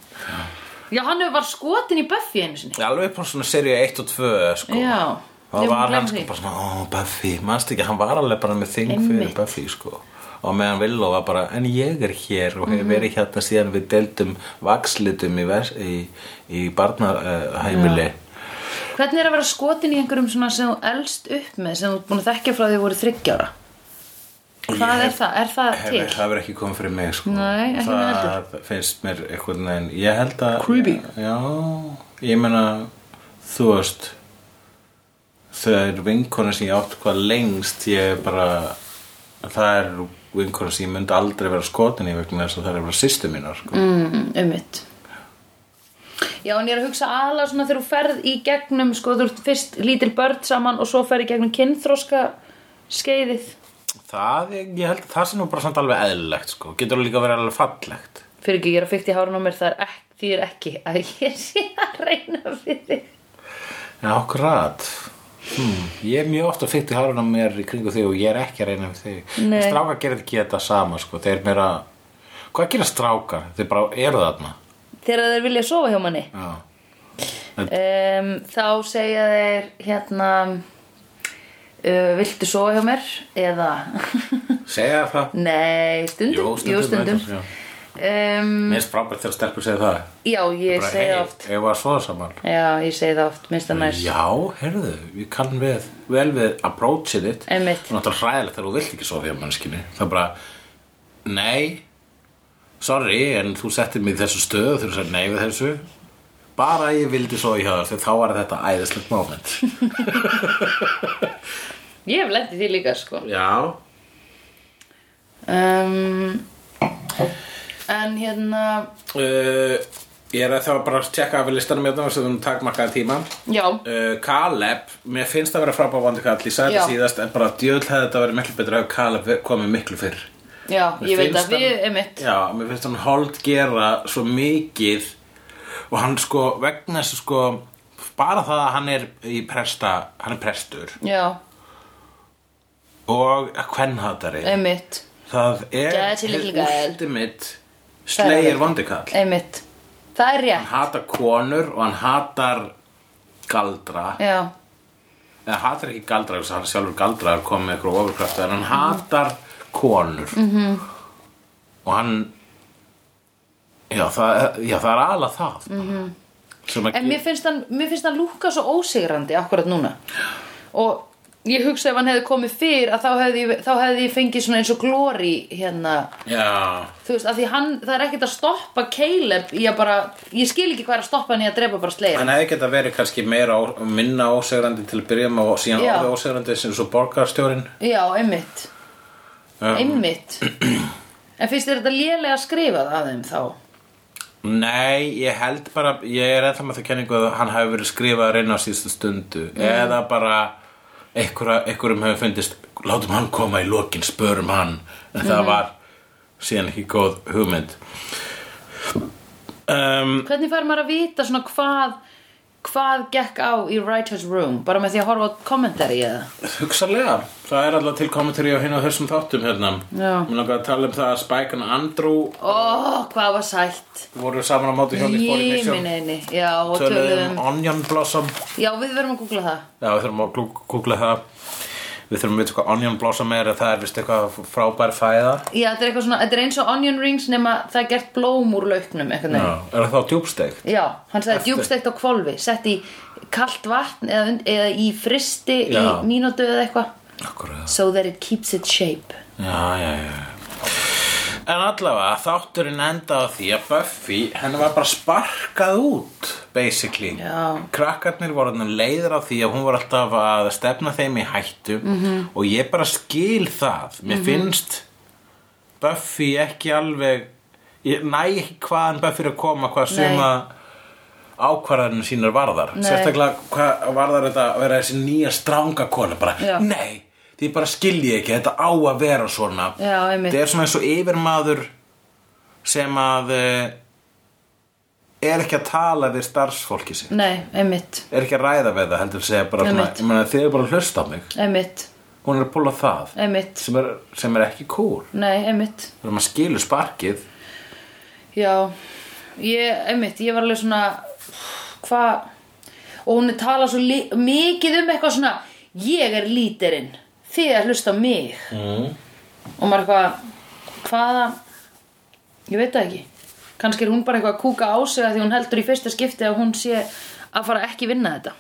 Já, hann var skotin í Buffy einu sinni
Alveg bara svona serið 1 og 2, sko.
Já,
Það
ég
var
gleymi
hann sko
því.
bara svona, ó Buffy, mannst ekki, hann var alveg bara með þing fyrir
Einmitt.
Buffy, sko. Og meðan Villó var bara, en ég er hér og
Mhm.
hefur verið hérna síðan við deildum vakslitum í, vers, í, í barnaheimili.
Hvernig er að vera skotin í einhverjum svona sem þú elst upp með sem þú ert búin að þekkja frá því voru þryggjara? Hvað er það? Er það
Hef,
til?
Eh, það verður ekki komið fyrir mig sko.
Nei, ekki mér
það finnst mér einhvern veginn ég held að
Creepy.
já, ég meina þú veist þegar vinkona sem ég átt hvað lengst ég bara það er vinkona sem ég myndi aldrei vera skotin í vegna þess að það er bara sýstu mínar sko. mm.
um mitt Já, en ég er að hugsa aðlega svona þegar þú ferð í gegnum sko, þú ert fyrst lítil börn saman og svo ferð í gegnum kynþróska skeiðið
það, er- ég held að það sé nú bara samt alveg eðlilegt sko. getur líka að vera alveg fallegt
fyrir ekki, ég er að fykta í hárun á mér það er ekki, því er ekki að ég sé að reyna fyrir
já, akkurat Hmm. Ég er mjög ofta fyrt í hárun á mér í kringu þig og ég er ekki að reyna við þig
Nei.
Strákar gerir ekki þetta sama sko. Þeir er meira Hvað gerir strákar? Þeir bara eru þarna
þegar þeir vilja sofa hjá manni
Já,
um, þá segja þeir hérna uh, viltu sofa hjá mér eða
Segja það?
nei, stundum,
Jú, stundum, mætast, já.
Um,
Mér er frábært þegar stelpur segja það.
já, ég
Bara,
segi
hey,
það oft
Ef að svoða saman.
já, ég segi það oft, minnst það næst
Já, herðu, ég kann við, vel við approachið þitt.
Einmitt.
Og náttúrulega hræðilegt þegar þú vilt ekki sofa hjá mannskinni. Það er bara, nei, sorry, en þú settir mig í þessu stöð og þú sagði nei við þessu. Bara ég vildi sofa hjá þér, því þá var þetta æðislegt moment.
ég hef lent í því líka, sko
Já,
um, en hérna
Uh, ég er að það bara að tjekka af listanum hérna sem um takmarkaða tíma
já,
uh, Caleb, mér finnst það að vera frábævandi kall ég sagði
Já.
þetta síðast en bara djöðl hefði þetta verið miklu betra ef Caleb komið miklu fyrr
já, ég veit
finnst
að við, einmitt
Já, mér finnst hann hold gera svo mikið og hann sko vegna þess að sko bara það að hann er í presta hann er prestur
já,
og kvennhatari
einmitt,
það er
Gæði til little girl.
últimitt slegir vondikall
einmitt það er rétt,
hann hatar konur og hann hatar galdra
já
eða hatar ekki galdra þess að hann er sjálfur galdra að koma með ykkur ofurkrafta en hann hatar konur -hmm. og hann já það, já, það er alveg það mm -hmm. sem að
en mér finnst hann, mér finnst hann lúka svo ósigrandi akkurat núna og ég hugsa ef hann hefði komið fyrr að þá hefði, ég- þá hefði ég fengið svona eins og glóri hérna,
já,
þú veist, af því hann, það er ekkert að stoppa Caleb í að bara, ég skil ekki hvað er að stoppa hann í að drepa bara slegir
hann hefði geta verið kannski meira ó, minna ósegrandi til að byrja með og síðan
Já.
orðið ósegrandi sem svo borgarstjórin
já, einmitt,
Um,
einmitt en finnst þér þetta lélega skrifað að þeim þá
Nei, ég held bara, ég er eða með það kenningu að hann hafi verið skrifaður inn á síðustu stundu eða bara einhverja, einhverjum hefur fundist látum hann koma í lokin, spörum hann en það var síðan ekki góð hugmynd um,
hvernig fær maður að vita svona hvað hvað gekk á í Righteous Room bara með því að horfa á kommentari eða
Hugsalega, það er alltaf til kommentari á hinn á þessum þáttum hérna
Já.
Mér langar að tala um það að Spike and Andrew
ó, hvað var sætt
voru saman á móti hjá Nick Borgnation
Jíminni, já, og
Töluðum
töluðum
um Onion Blossom
Já, við verðum að googla það
Já, við þurfum að glú- googla það Við þurfum að vita hvað onion blossom er eða það er vist eitthvað frábær fæða
Já, þetta er eitthvað svona, þetta er eins og onion rings nema það er gert blóm úr lauknum eitthvað
Já,
nefn
er það þá djúbsteg?
Já, hann sagði
Eftir.
djúbstekt á kvolfi Sett í kalt vatn eða, und- eða í fristi
Já.
í mínútu eða eitthvað
Akkurat
So that it keeps its shape
Já, já, já En allavega, þátturinn enda á því að Buffy, henni var bara sparkað út, basically.
Já.
Krakkarnir voru hann leiðir á því að hún var alltaf að stefna þeim í hættu -hmm.
Mhm.
og ég bara skil það. Mér finnst Buffy ekki alveg, ég næ ekki hvaðan Buffy er að koma, hvað suma ákvarðarinn sínar varðar.
Nei.
Sérstaklega hvað varðar þetta að vera þessi nýja stranga kona, bara
Já.
nei, því bara skilji ekki, þetta á að vera svona
Já, einmitt.
þetta er svona eins og yfirmaður sem að eh, er ekki að tala við starfsfólki sig
Nei, einmitt,
er ekki að ræða við það heldur segja bara svona,
Einmitt.
ég meina, þið er bara að hlusta á mig
einmitt,
hún er að púla það
einmitt
sem er, sem er ekki cool
Nei, einmitt
þegar maður skilur sparkið
Já, ég, einmitt, ég var alveg svona, hvað, og hún er talað svo li- mikið um eitthvað svona, ég er lítirinn, þið að hlusta á mig. Mm. Og maður eitthvað, hvaða, ég veit það ekki, kannski er hún bara eitthvað að kúka á sig að því hún heldur í fyrsta skipti að hún sé að fara ekki vinna þetta.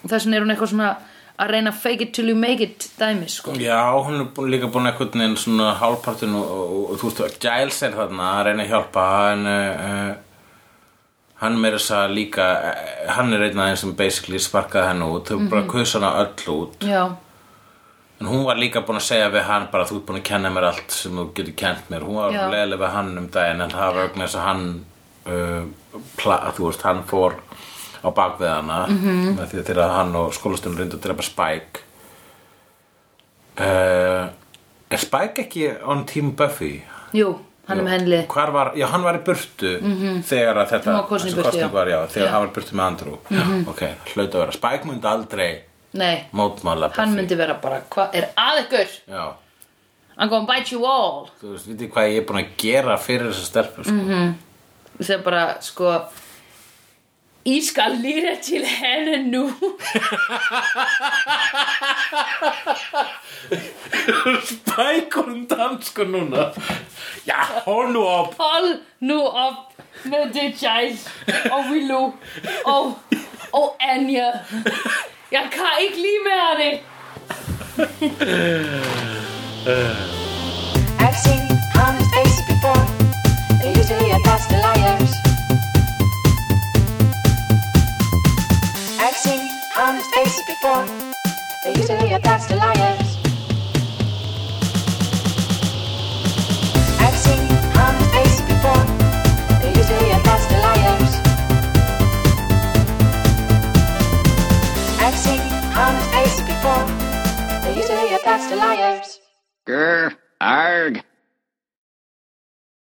Og þess vegna er hún eitthvað svona að reyna að fake it till you make it dæmi, sko.
Já, hún er bú- líka búin einhvern veginn svona hálfpartin og, og, og þú veist að Giles er þarna að reyna að hjálpa en uh, uh, hann meira þess að líka uh, hann er einn af þeim sem basically sparkaði henn út þau bara kusa hana öll út
Já,
en hún var líka búin að segja við hann bara þú ert búin að kenna mér allt sem þú getur kent mér hún var
Já.
leiðileg við hann um daginn en það var vegna þess að hann uh, pla, þú veist, hann fór á bak við hana
Mhm.
-hmm. því að þegar hann og skólastunum reyndu að drepa Spike uh, er Spike ekki on Team Buffy?
jú, hann er með henlið.
Hvar var, já, hann var í burtu þegar að þetta
Hann var kosinn í
þessi
burtu, já.
kosning var, já, þegar
Já. Mhm.
hann var í burtu með Andrew ok, hlaut að vera Spike myndi aldrei
Nei,
mótmála Buffy
hann myndi vera bara, hvað er að ykkur?
já
I'm gonna bite you all
þú veist, vitið hvað ég er búin að gera fyrir þessa stelpu sko. mm -hmm.
þegar bara sko Ég skal líra til henni nú
Spækur um dansku núna Já, honu op
Hold nu op med det, Giles og Willow og, og Anja. Jeg kan ikke lige mere det.
I've seen honest faces before. They're usually a pass to liars. I've seen honest faces before. They're usually a pass to liars. I've seen honest faces before. They're usually a pass to liars. I've seen honest faces before. They're usually a pass to liars.
grr, arg.